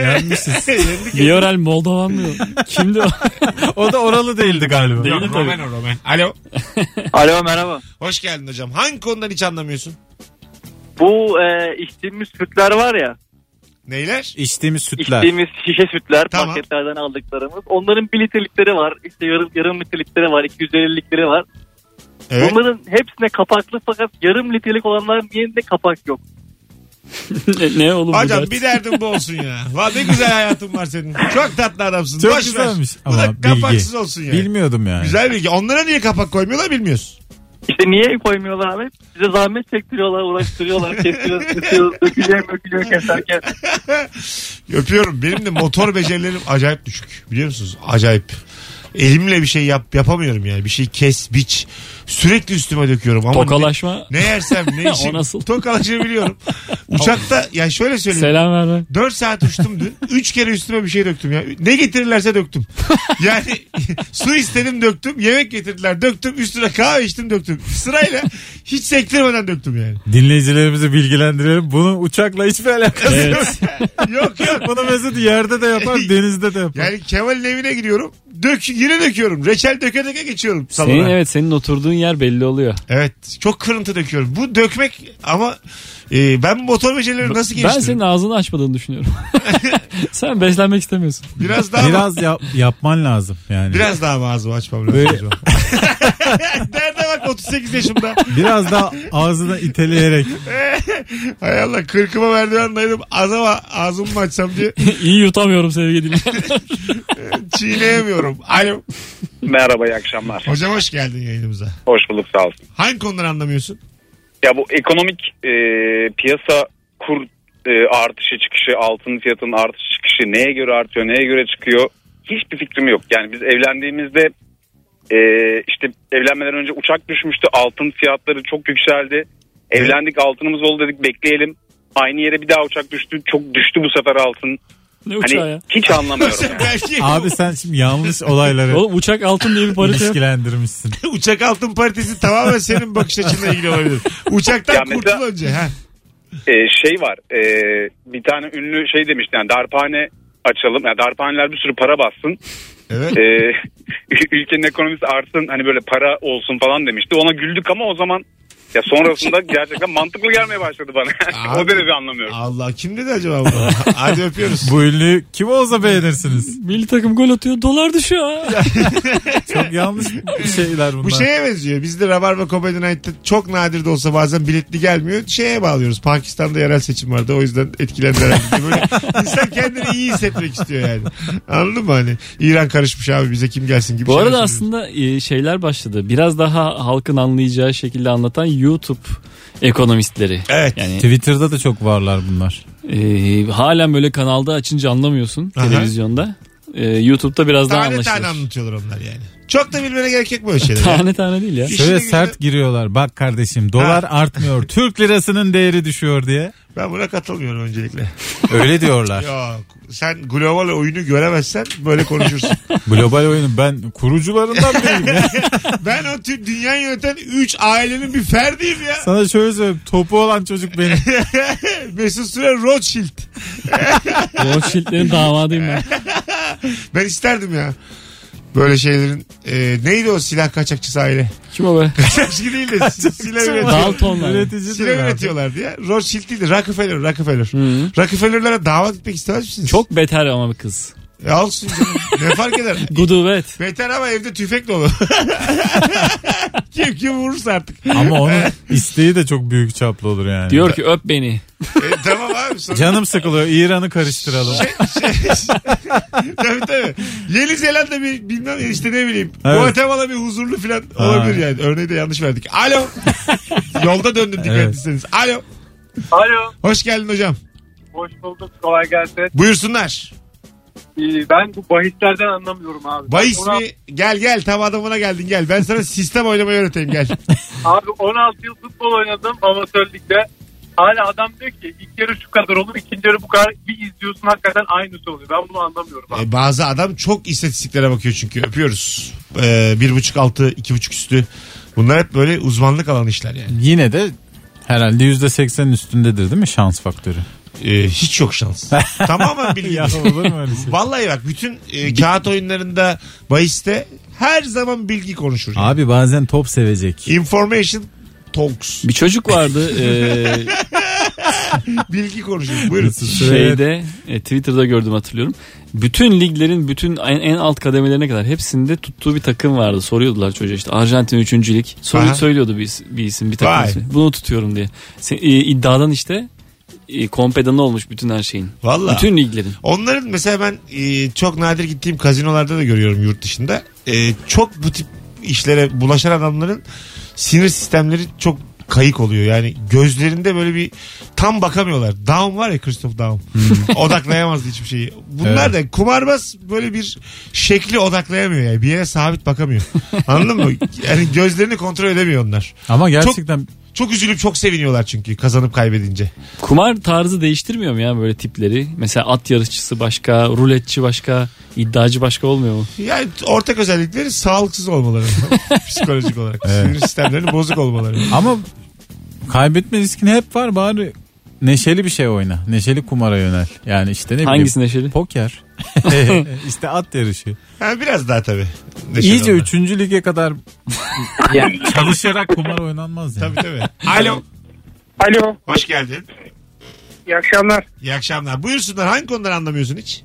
S3: yenmişiz.
S2: Yani. Yendik.
S4: Liorel Moldova mı? Kimdi o? <laughs>
S3: O da oralı değildi galiba.
S4: Değil.
S2: Roman o Roman. Alo.
S6: Alo merhaba.
S2: Hoş geldin hocam. Hangi konudan hiç anlamıyorsun?
S6: Bu e, içtiğimiz sütler var ya.
S2: Neyler?
S3: İçtiğimiz sütler.
S6: İçtiğimiz şişe sütler
S2: Tamam.
S6: paketlerden aldıklarımız. Onların 1 litrelikleri var. İşte yarım, yarım litrelikleri var. 250'likleri var.
S2: Evet.
S6: Bunların hepsine kapaklı fakat yarım litrelik olanların yerinde kapak yok.
S4: ne, ne oğlum bu
S2: Hocam
S4: dert?
S2: bir derdin bu olsun ya. Valla ne güzel hayatın var senin. Çok tatlı adamsın.
S3: Çok
S2: Boş ver.
S3: güzelmiş
S2: Bu da
S3: ama bilgi.
S2: kapaksız olsun yani.
S3: Bilmiyordum yani.
S2: Güzel bilgi. Onlara niye kapak koymuyorlar bilmiyoruz.
S6: İşte niye koymuyorlar abi? Bize zahmet çektiriyorlar, uğraştırıyorlar, kesiyoruz, kesiyoruz, dökülüyor, dökülüyor keserken.
S2: Öpüyorum. Benim de motor becerilerim acayip düşük. Biliyor musunuz? Acayip. Elimle bir şey yap yapamıyorum yani. Bir şey kes, biç. Sürekli üstüme döküyorum. Ama
S4: Tokalaşma.
S2: Ne, ne yersem
S4: <laughs>
S2: ne işim.
S4: nasıl?
S2: Tokalaşabiliyorum. Uçakta ya şöyle söyleyeyim.
S4: Selam verme.
S2: 4 saat uçtum dün. 3 kere üstüme bir şey döktüm ya. Ne getirirlerse
S4: <laughs>
S2: döktüm. Yani <laughs> su istedim döktüm. Yemek getirdiler döktüm. Üstüne kahve içtim döktüm. Sırayla hiç sektirmeden döktüm yani.
S3: Dinleyicilerimizi bilgilendirelim. Bunun uçakla hiçbir alakası yok.
S2: <laughs>
S4: Evet.
S2: Yok yok.
S3: Bunu Mesut yerde
S2: <laughs>
S3: de yapar, denizde de yapar.
S2: Yani Kemal'in evine gidiyorum. Dök, yine döküyorum. Reçel döke döke geçiyorum salona.
S4: senin evet senin oturduğun yer belli oluyor.
S2: Evet. Çok kırıntı döküyorum. Bu dökmek ama e, ben bu motor becerileri nasıl
S4: Ben senin
S2: geliştiririm?
S4: ağzını açmadığını düşünüyorum.
S2: <laughs>
S4: Sen beslenmek istemiyorsun.
S2: Biraz daha biraz,
S3: Biraz yap- yapman lazım yani. Biraz,
S2: <laughs> biraz daha mı ağzımı açmam lazım
S3: Böyle-
S2: acaba? <laughs> Nerede bak 38 yaşımda. <laughs>
S3: daha ağzına iteleyerek.
S2: Hay Allah kırkıma merdivendaydım. Az ama ağzımı mı açsam diye <laughs>
S4: İyi yutamıyorum sevgili <laughs> dinleyenler.
S2: çiğneyemiyorum. Alo.
S9: Merhaba iyi akşamlar.
S2: Hocam hoş geldin yayınımıza.
S9: Hoş bulduk sağ olsun.
S2: Hangi konuları anlamıyorsun? <laughs>
S9: Ya bu ekonomik e, piyasa kur e, artışı çıkışı altın fiyatının artışı çıkışı neye göre artıyor neye göre çıkıyor hiçbir fikrim yok. Yani biz evlendiğimizde e, işte evlenmeden önce uçak düşmüştü altın fiyatları çok yükseldi. Evlendik altınımız oldu dedik bekleyelim. Aynı yere bir daha uçak düştü. Çok düştü bu sefer altın.
S4: ne
S9: Hani
S4: uçağı ya?
S9: hiç anlamıyorum.
S2: <laughs>
S9: yani.
S2: Belki
S3: Abi sen şimdi yanlış olayları
S4: Oğlum uçak altın diye bir parite yok.
S3: ilişkilendirmişsin.
S2: <laughs> uçak altın paritesi tamamen senin bakış açınla ilgili olabilir. Uçaktan
S9: Ya
S2: kurtul
S9: mesela-
S2: önce. Ha.
S9: e, şey var e, bir tane ünlü şey demişti yani darphane açalım yani darphaneler bir sürü para bassın
S2: Evet.
S9: E, ül- <laughs> ülkenin ekonomisi artsın hani böyle para olsun falan demişti ona güldük ama o zaman ya
S2: <laughs>
S9: sonrasında gerçekten mantıklı gelmeye başladı bana <laughs> E, o derece anlamıyorum
S2: Allah kim dedi acaba
S9: <laughs>
S2: bunu? Hadi öpüyoruz.
S3: Bu ünlü kim olsa beğenirsiniz.
S4: Milli takım gol atıyor dolar düşüyor. <laughs>
S3: Çok yanlış şeyler bunlar.
S2: Bu şey- şeye benziyor. Biz de Rabarba Comedy Night'ta çok nadir de olsa bazen biletli gelmiyor. Şeye bağlıyoruz. Pakistan'da yerel seçim vardı. O yüzden etkilendiler. <laughs> Böyle insan kendini iyi hissetmek istiyor yani. Anladın mı hani? İran karışmış abi bize kim gelsin gibi.
S4: Bu
S2: şeyler
S4: arada
S2: söylüyoruz.
S4: aslında e, şeyler başladı. Biraz daha halkın anlayacağı şekilde anlatan YouTube ekonomistleri.
S2: Evet.
S4: Yani
S3: Twitter'da da çok varlar bunlar.
S4: e, halen böyle kanalda açınca anlamıyorsun
S2: Aha.
S4: televizyonda. E, YouTube'da biraz daha
S2: Tane
S4: anlaşılır.
S2: tane anlatıyorlar onlar yani. Çok da bilmene gerek yok böyle şeyler.
S4: <laughs> Tane tane
S2: <laughs>
S4: değil ya.
S2: İşine
S3: Şöyle
S2: gücüne-
S3: sert giriyorlar. Bak kardeşim dolar
S2: <laughs>
S3: artmıyor. Türk lirasının değeri düşüyor diye.
S2: Ben buna katılmıyorum öncelikle.
S3: Öyle diyorlar.
S2: Yok. Sen global oyunu göremezsen böyle konuşursun.
S3: Global oyunun ben kurucularından biriyim ya.
S2: ben o tüm dünya yöneten 3 ailenin bir ferdiyim ya.
S3: Sana şöyle söyleyeyim. Topu olan çocuk benim.
S2: Mesut Süre Rothschild.
S4: Rothschild'lerin damadıyım
S2: <laughs>
S4: ben.
S2: Ben isterdim ya. Böyle şeylerin e, neydi o silah kaçakçısı aile? <laughs>
S4: Kim o be?
S2: Kaçakçı değil de si- silah üretiyor.
S4: Daltonlar.
S3: Üretici
S2: Silah
S3: diyor abi.
S2: üretiyorlardı ya. Rothschild değil de Rockefeller, Rockefeller. Rockefeller'lara dava gitmek istemez misiniz?
S4: Çok beter ama bir kız.
S2: E, alsın canım. ne fark
S4: <laughs>
S2: eder?
S4: Gudubet.
S2: Beter ama evde tüfek dolu. <laughs> kim kim vurursa artık.
S3: Ama onun isteği de çok büyük çaplı olur yani.
S4: Diyor ki öp beni.
S2: E, tamam abi. Sonra...
S3: Canım sıkılıyor. İran'ı karıştıralım.
S2: tabii tabii. Yeni Zelanda bir bilmem ya işte ne bileyim.
S3: Evet.
S2: Guatemala bir huzurlu falan olabilir yani. Örneği de yanlış verdik.
S3: <laughs>
S2: Alo. Yolda döndüm dikkat
S3: Evet.
S2: etseniz. Alo.
S6: Alo,
S2: Hoş geldin hocam.
S6: hoş bulduk, kolay gelsin. Ee,
S2: Buyursunlar.
S6: Ben bu bahislerden anlamıyorum abi.
S2: Bahis mi? Gel gel tam adamına geldin gel. Ben sana sistem oynamayı öğreteyim gel.
S6: Abi 16 yıl futbol oynadım amatörlükte. Hala adam diyor ki ilk yarı şu kadar olur, ikinci yarı bu kadar. Bir izliyorsun hakikaten aynısı oluyor. Ben bunu anlamıyorum abi.
S2: E, bazı adam çok istatistiklere bakıyor çünkü. Öpüyoruz. Ee, bir buçuk altı, iki buçuk üstü. Bunlar hep böyle uzmanlık alan işler yani.
S3: Yine de herhalde %80'in üstündedir değil mi şans faktörü?
S2: Ee, hiç yok
S3: <laughs>
S2: şans. Tamamen bilgi.
S3: olur mu öyle şey?
S2: Vallahi bak bütün e, kağıt oyunlarında bahiste her zaman bilgi konuşur. yani.
S3: Abi bazen top sevecek.
S2: Information talks.
S4: Bir çocuk vardı. e,
S2: Bilgi konuşuyoruz. Buyurun.
S4: Şeyde e, Twitter'da gördüm hatırlıyorum. Bütün liglerin bütün en, en alt kademelerine kadar hepsinde tuttuğu bir takım vardı. Soruyordular çocuğa işte Arjantin 3. lig. Soruyu
S2: Aha.
S4: söylüyordu bir, is- bir isim bir
S2: Vay.
S4: takım ismi. Bunu tutuyorum diye. Sen, e, iddiadan işte e, kompedanı olmuş bütün her şeyin.
S2: Valla.
S4: Bütün liglerin.
S2: Onların mesela ben e, çok nadir gittiğim kazinolarda da görüyorum yurt dışında. E, çok bu tip işlere bulaşan adamların sinir sistemleri çok kayık oluyor. Yani gözlerinde böyle bir tam bakamıyorlar. Down var ya Christoph Down. <laughs> Odaklayamaz hiçbir şeyi. Bunlar da kumarbaz böyle bir şekli odaklayamıyor yani. Bir yere sabit bakamıyor. Anladın mı? Yani gözlerini kontrol edemiyor onlar.
S3: Ama gerçekten
S2: Çok üzülüp çok seviniyorlar çünkü kazanıp kaybedince.
S4: Kumar tarzı değiştirmiyor mu ya böyle tipleri? Mesela at yarışçısı başka, ruletçi başka, iddiacı başka olmuyor mu?
S2: Yani ortak özellikleri sağlıksız olmaları
S3: <laughs>
S2: psikolojik olarak. Sinir sistemlerinin bozuk olmaları.
S3: ama kaybetme riskin hep var bari neşeli bir şey oyna. Neşeli kumara yönel. Yani işte ne bileyim.
S4: Hangisi neşeli? <laughs>
S3: Poker. <laughs> işte at yarışı.
S2: Ha, biraz daha tabii. Neşeli
S3: İyice
S2: olmaları.
S3: 3. lige kadar <laughs> çalışarak kumar oynanmaz yani.
S2: Tabii tabii. Alo.
S5: Alo.
S2: Hoş geldin.
S5: İyi akşamlar.
S2: İyi akşamlar. Buyursunlar. Hangi konuları anlamıyorsun hiç?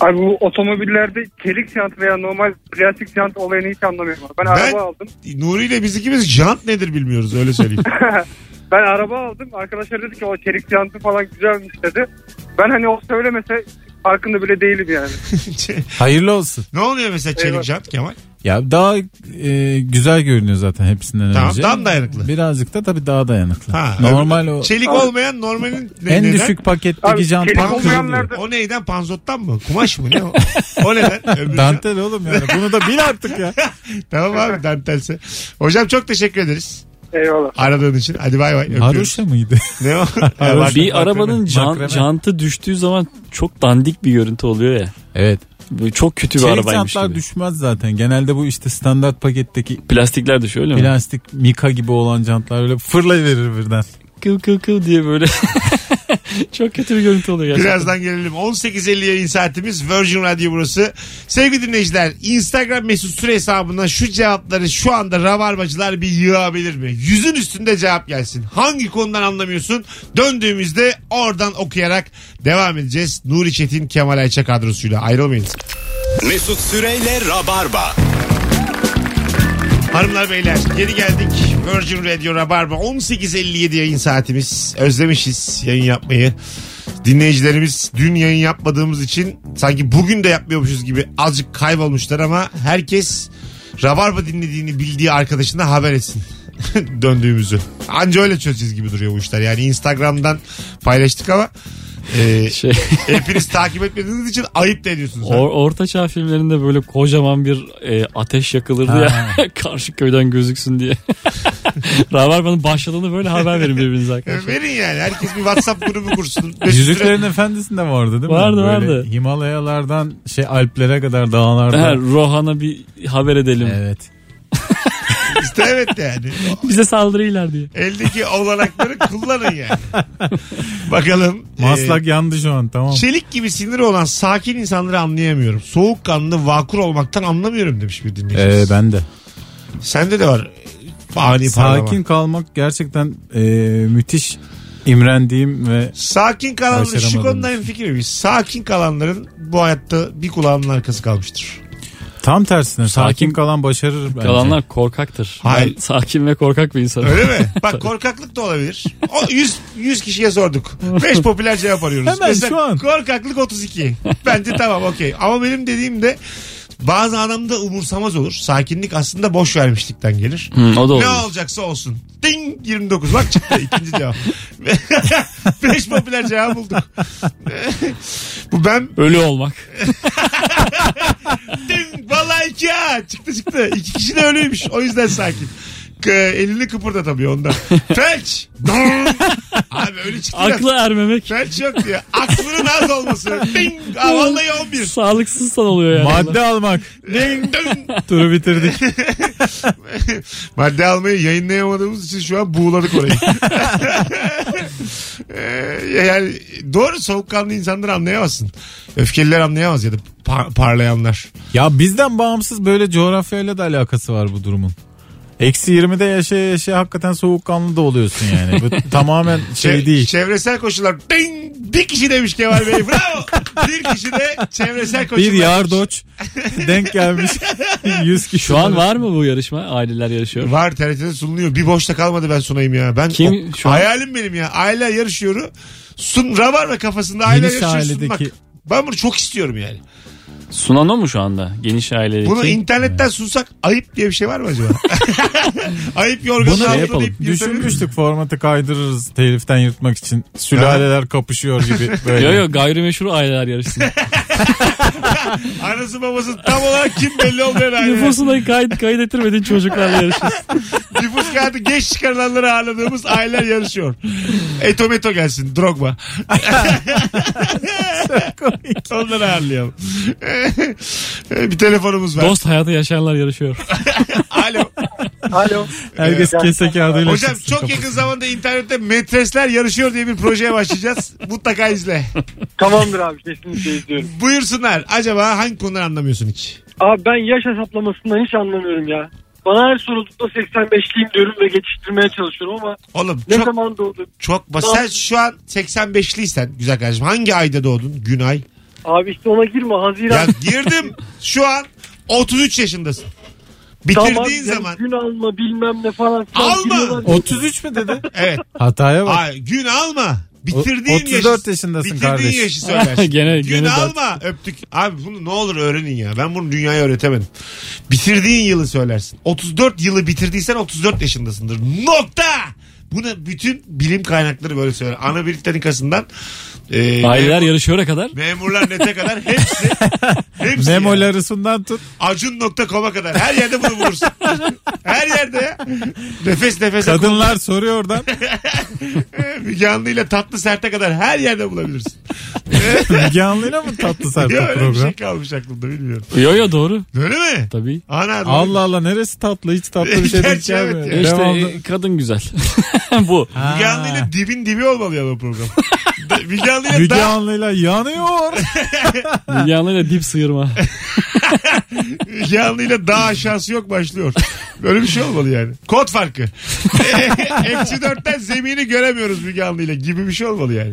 S5: Abi bu otomobillerde çelik jant veya normal plastik jant olayını hiç anlamıyorum. Ben, araba aldım.
S2: Nuri ile biz ikimiz jant nedir bilmiyoruz öyle söyleyeyim.
S5: Ben araba aldım. Arkadaşlar dedi ki o çelik jantı falan güzelmiş dedi. Ben hani o söylemese farkında bile değilim yani.
S3: <laughs> Hayırlı olsun.
S2: ne oluyor mesela çelik
S5: Eyvah.
S2: jant Kemal?
S3: Ya daha e, güzel görünüyor zaten hepsinden
S2: Tamam,
S3: önce.
S2: daha mı dayanıklı?
S3: Birazcık da tabii daha dayanıklı.
S2: Ha,
S3: Normal o
S2: Çelik olmayan normalin ne-
S3: en
S2: neden?
S3: düşük paketteki
S5: Abi,
S3: jantan
S5: çelik
S3: kırılıyor.
S5: olmayanlar-
S2: O neyden? Panzottan mı? Kumaş mı? Ne o? O neden? Öbür jant.
S3: Dantel oğlum yani.
S2: <laughs>
S3: Bunu da bil artık ya.
S2: Tamam abi dantelse. Hocam çok teşekkür ederiz. <laughs>
S5: Eyvallah.
S2: Aradığın için. Hadi bay bay. Öpüyoruz.
S4: <laughs>
S3: Haroşa mıydı?
S2: Ne o? Ya bak-
S4: bir arabanın can,
S3: Makreme.
S4: jantı düştüğü zaman çok dandik bir görüntü oluyor ya.
S3: evet.
S4: Bu çok kötü bir
S3: Çelik
S4: arabaymış
S3: jantlar
S4: gibi.
S3: düşmez zaten. Genelde bu işte standart paketteki
S4: Plastikler düşüyor öyle mi?
S3: plastik mika gibi olan jantlar öyle fırlayıverir birden.
S4: kıl kıl kıl diye böyle <laughs> çok kötü bir görüntü oluyor gerçekten.
S2: Birazdan gelelim. 18.50 yayın saatimiz Virgin Radio burası. Sevgili dinleyiciler Instagram mesut süre hesabından şu cevapları şu anda rabarbacılar bir yığabilir mi? Yüzün üstünde cevap gelsin. Hangi konudan anlamıyorsun? Döndüğümüzde oradan okuyarak devam edeceğiz. Nuri Çetin Kemal Ayça kadrosuyla ayrılmayınız.
S1: Mesut Süreyle Rabarba.
S2: Hanımlar beyler geri geldik. Virgin Radio Rabarba 18.57 yayın saatimiz. Özlemişiz yayın yapmayı. Dinleyicilerimiz dün yayın yapmadığımız için sanki bugün de yapmıyormuşuz gibi azıcık kaybolmuşlar ama herkes Rabarba dinlediğini bildiği arkadaşına haber etsin <laughs> döndüğümüzü. Anca öyle çözeceğiz gibi duruyor bu işler. Yani Instagram'dan paylaştık ama
S4: <laughs>
S2: e,
S4: Şey,
S2: hepiniz takip etmediğiniz için ayıp da ediyorsunuz.
S4: or, orta çağ filmlerinde böyle kocaman bir e, ateş yakılırdı ya <laughs> karşı köyden gözüksün diye. <laughs> Rabarba'nın başladığını böyle haber verin birbirinize
S2: E,
S4: arkadaşlar.
S2: Verin yani. Herkes bir WhatsApp grubu kursun.
S3: Yüzüklerin Efendisi'nde vardı değil mi?
S4: Vardı,
S3: Böyle
S4: vardı.
S3: Himalayalardan şey Alplere kadar
S4: Ha,
S3: dağlardan.
S4: Rohan'a bir haber edelim.
S3: Evet.
S2: İşte evet yani.
S4: Bize saldırıyorlar diye.
S2: Eldeki olanakları kullanın yani. Bakalım.
S3: Maslak
S2: Ee,
S3: yandı şu an tamam.
S2: çelik gibi siniri olan sakin insanları anlayamıyorum. Soğukkanlı, vakur olmaktan anlamıyorum demiş bir
S3: Ee,
S2: dinleyicimiz.
S3: ben de.
S2: Sende de var. Ani
S3: Sakin
S2: Sakin.
S3: kalmak gerçekten e, müthiş imrendiğim ve
S2: Sakin kalanların şu
S3: Başaramadığımız.
S2: konuda en fikir miyiz? Sakin kalanların bu hayatta bir kulağının arkası kalmıştır.
S3: tam tersine sakin,
S4: Sakin-
S3: kalan başarır bence.
S4: Kalanlar korkaktır.
S2: Hayır.
S4: Ben sakin ve korkak bir insanım.
S2: Öyle
S3: <laughs>
S2: mi? Bak korkaklık da olabilir. O 100, 100 kişiye sorduk. 5 popüler cevap arıyoruz.
S3: Hemen
S2: Mesela
S3: şu an.
S2: Korkaklık 32. Bence tamam okey. Ama benim dediğim de bazı adamda umursamaz olur. Sakinlik aslında boş vermişlikten gelir.
S4: Hı, o da olur.
S2: Ne olacaksa olsun. Ding 29 bak çıktı ikinci cevap. <laughs> 5 popüler cevap bulduk. <laughs> Bu ben
S4: Ölü olmak.
S2: Ding, vallahi iki ha. Çıktı çıktı. İki kişi de ölüymüş. O yüzden sakin. K- elini kıpırdatamıyor ondan. Felç. Dong. Abi öyle çıktı. ya.
S4: Aklı ermemek.
S2: Felç yok diye. Aklının az olması. Ding. Aa, vallahi 11.
S4: Sağlıksızsan oluyor yani.
S3: Madde almak.
S2: Ding dong.
S3: Turu bitirdik.
S2: <laughs> Madde almayı yayınlayamadığımız için şu an buğuladık orayı. <laughs> Ee, yani doğru soğukkanlı insanları anlayamazsın. Öfkeliler anlayamaz ya da par- parlayanlar.
S3: ya bizden bağımsız böyle coğrafyayla da alakası var bu durumun. Eksi 20'de yaşa yaşa hakikaten soğukkanlı da oluyorsun yani. <laughs> Bu tamamen şey
S2: Çev-
S3: değil.
S2: Çevresel koşullar. Ding! Bir kişi demiş Kemal Bey. Bravo.
S4: <laughs>
S2: Bir kişi de çevresel koşullar.
S3: Bir <laughs> yardoç denk gelmiş <laughs> 100 kişi.
S4: Şu an var mı bu yarışma? Aileler yarışıyor.
S2: Var TRT'de sunuluyor. Bir boşta kalmadı ben sunayım ya. Ben
S4: Kim
S2: o-
S4: şu an?
S2: hayalim benim ya. Aile yarışıyor. Sun rabar ve kafasında aile
S3: Geniş
S2: yarışıyor sunmak.
S3: ailedeki-
S2: Ben bunu çok istiyorum yani.
S4: Sunan o mu şu anda? Geniş ailedeki.
S2: Bunu internetten sunsak ayıp diye bir şey var mı
S4: <laughs>
S2: acaba? ayıp yorganı
S4: Bunu şey
S2: altına
S4: yapalım.
S2: deyip yırtabilir miyim?
S3: Düşünmüştük formatı kaydırırız teliften yırtmak için. Sülaleler kapışıyor <laughs> gibi böyle.
S4: Yo yo gayrimeşru aileler yarışsın.
S2: Anası babası tam olarak kim belli
S4: <laughs>
S2: olmuyor aile.
S4: Nüfusuna kayıt, kayıt ettirmedin çocuklarla yarışırsın.
S2: Nüfus kağıdı geç çıkarılanları ağırladığımız aileler yarışıyor. Etometo gelsin. Drogba. Onları ağırlayalım. E, bir telefonumuz var.
S4: Dost hayatı yaşayanlar yarışıyor.
S2: Alo.
S5: Alo.
S3: Herkes kese kağıdıyla
S2: Hocam
S3: çıksın
S2: çok
S3: kapı-
S2: yakın zamanda internette metresler yarışıyor diye bir projeye başlayacağız. Mutlaka izle.
S5: Tamamdır abi kesinlikle izliyorum.
S2: Buyursunlar. Acaba hangi konuları anlamıyorsun hiç?
S5: Abi ben yaş hesaplamasından hiç anlamıyorum ya. Bana her sorulduğunda 85'liyim diyorum ve geçiştirmeye çalışıyorum ama
S2: Oğlum
S5: ne
S2: çok
S5: zaman doğdum?
S2: çok basit. Sen şu an 85'liysen güzel kardeşim. Hangi ayda doğdun? Gün ay.
S5: Abi işte ona girme Haziran.
S2: Ya girdim. şu an 33 yaşındasın.
S5: Tamam,
S2: Bitirdiğin
S5: yani
S2: zaman.
S5: gün alma bilmem ne falan. filan
S2: Alma.
S5: giriyorlar.
S3: 33 mü dedi?
S5: <laughs>
S2: Evet.
S3: Hataya bak.
S2: Ay, gün alma.
S3: O-
S2: Bitirdiğin yaşı-
S3: 34 yaşındasın
S2: Bitirdiğin
S3: kardeş.
S2: yaşı söylersin.
S4: <laughs> gene
S2: Gün
S4: gene dört.
S2: alma öptük. Abi bunu ne olur öğrenin ya. Ben bunu dünyaya öğretemedim. Bitirdiğin yılı söylersin. 34 yılı bitirdiysen 34 yaşındasındır. Nokta! Bunu bütün bilim kaynakları böyle söyler. Ana Britannika'sından e,
S4: Aileler
S2: memur-
S4: yarışıyor'a kadar.
S2: memurlar nete kadar
S4: <laughs>
S2: hepsi, hepsi yani.
S3: Memolarısından tut.
S2: Acun.com'a kadar her yerde bunu bulursun. her yerde ya. Nefes nefese
S3: Kadınlar soruyor
S2: <laughs>
S3: oradan.
S2: Müge Anlı ile tatlı serte kadar her yerde bulabilirsin.
S3: Müge Anlı'yla mı tatlı
S2: Ya
S3: sarpa
S2: öyle bir
S3: program?
S2: şey kalmış aklımda bilmiyorum.
S4: Yo yo doğru.
S2: Öyle mi?
S4: Tabii.
S2: Ana
S3: Allah Allah neresi tatlı hiç tatlı bir
S2: <laughs>
S3: şey denk
S2: Gerçi evet
S3: gelmiyor.
S2: ya.
S4: E İşte
S3: Devamlı-
S4: e, kadın güzel. <laughs> bu.
S3: Ha.
S2: Müge Anlı ile dibin dibi olmalı ya bu
S3: <laughs>
S2: program. Da- Müge Anlı ile
S3: Müge
S2: daha,
S3: Anlı'yla yanıyor.
S4: Yanlarıyla dip sıyırma.
S2: <laughs> Müge Anlı ile daha aşağısı yok başlıyor. Böyle bir şey olmalı yani. Kod farkı. <laughs> Eksi dörtten zemini göremiyoruz Müge Anlı ile gibi bir şey olmalı yani.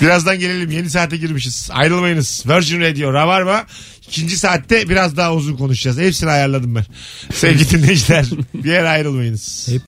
S2: Birazdan gelelim yeni saate girmişiz. Ayrılmayınız. Virgin Radio Rabarba. İkinci saatte biraz daha uzun konuşacağız. Hepsini ayarladım ben. Sevgili dinleyiciler bir yere ayrılmayınız.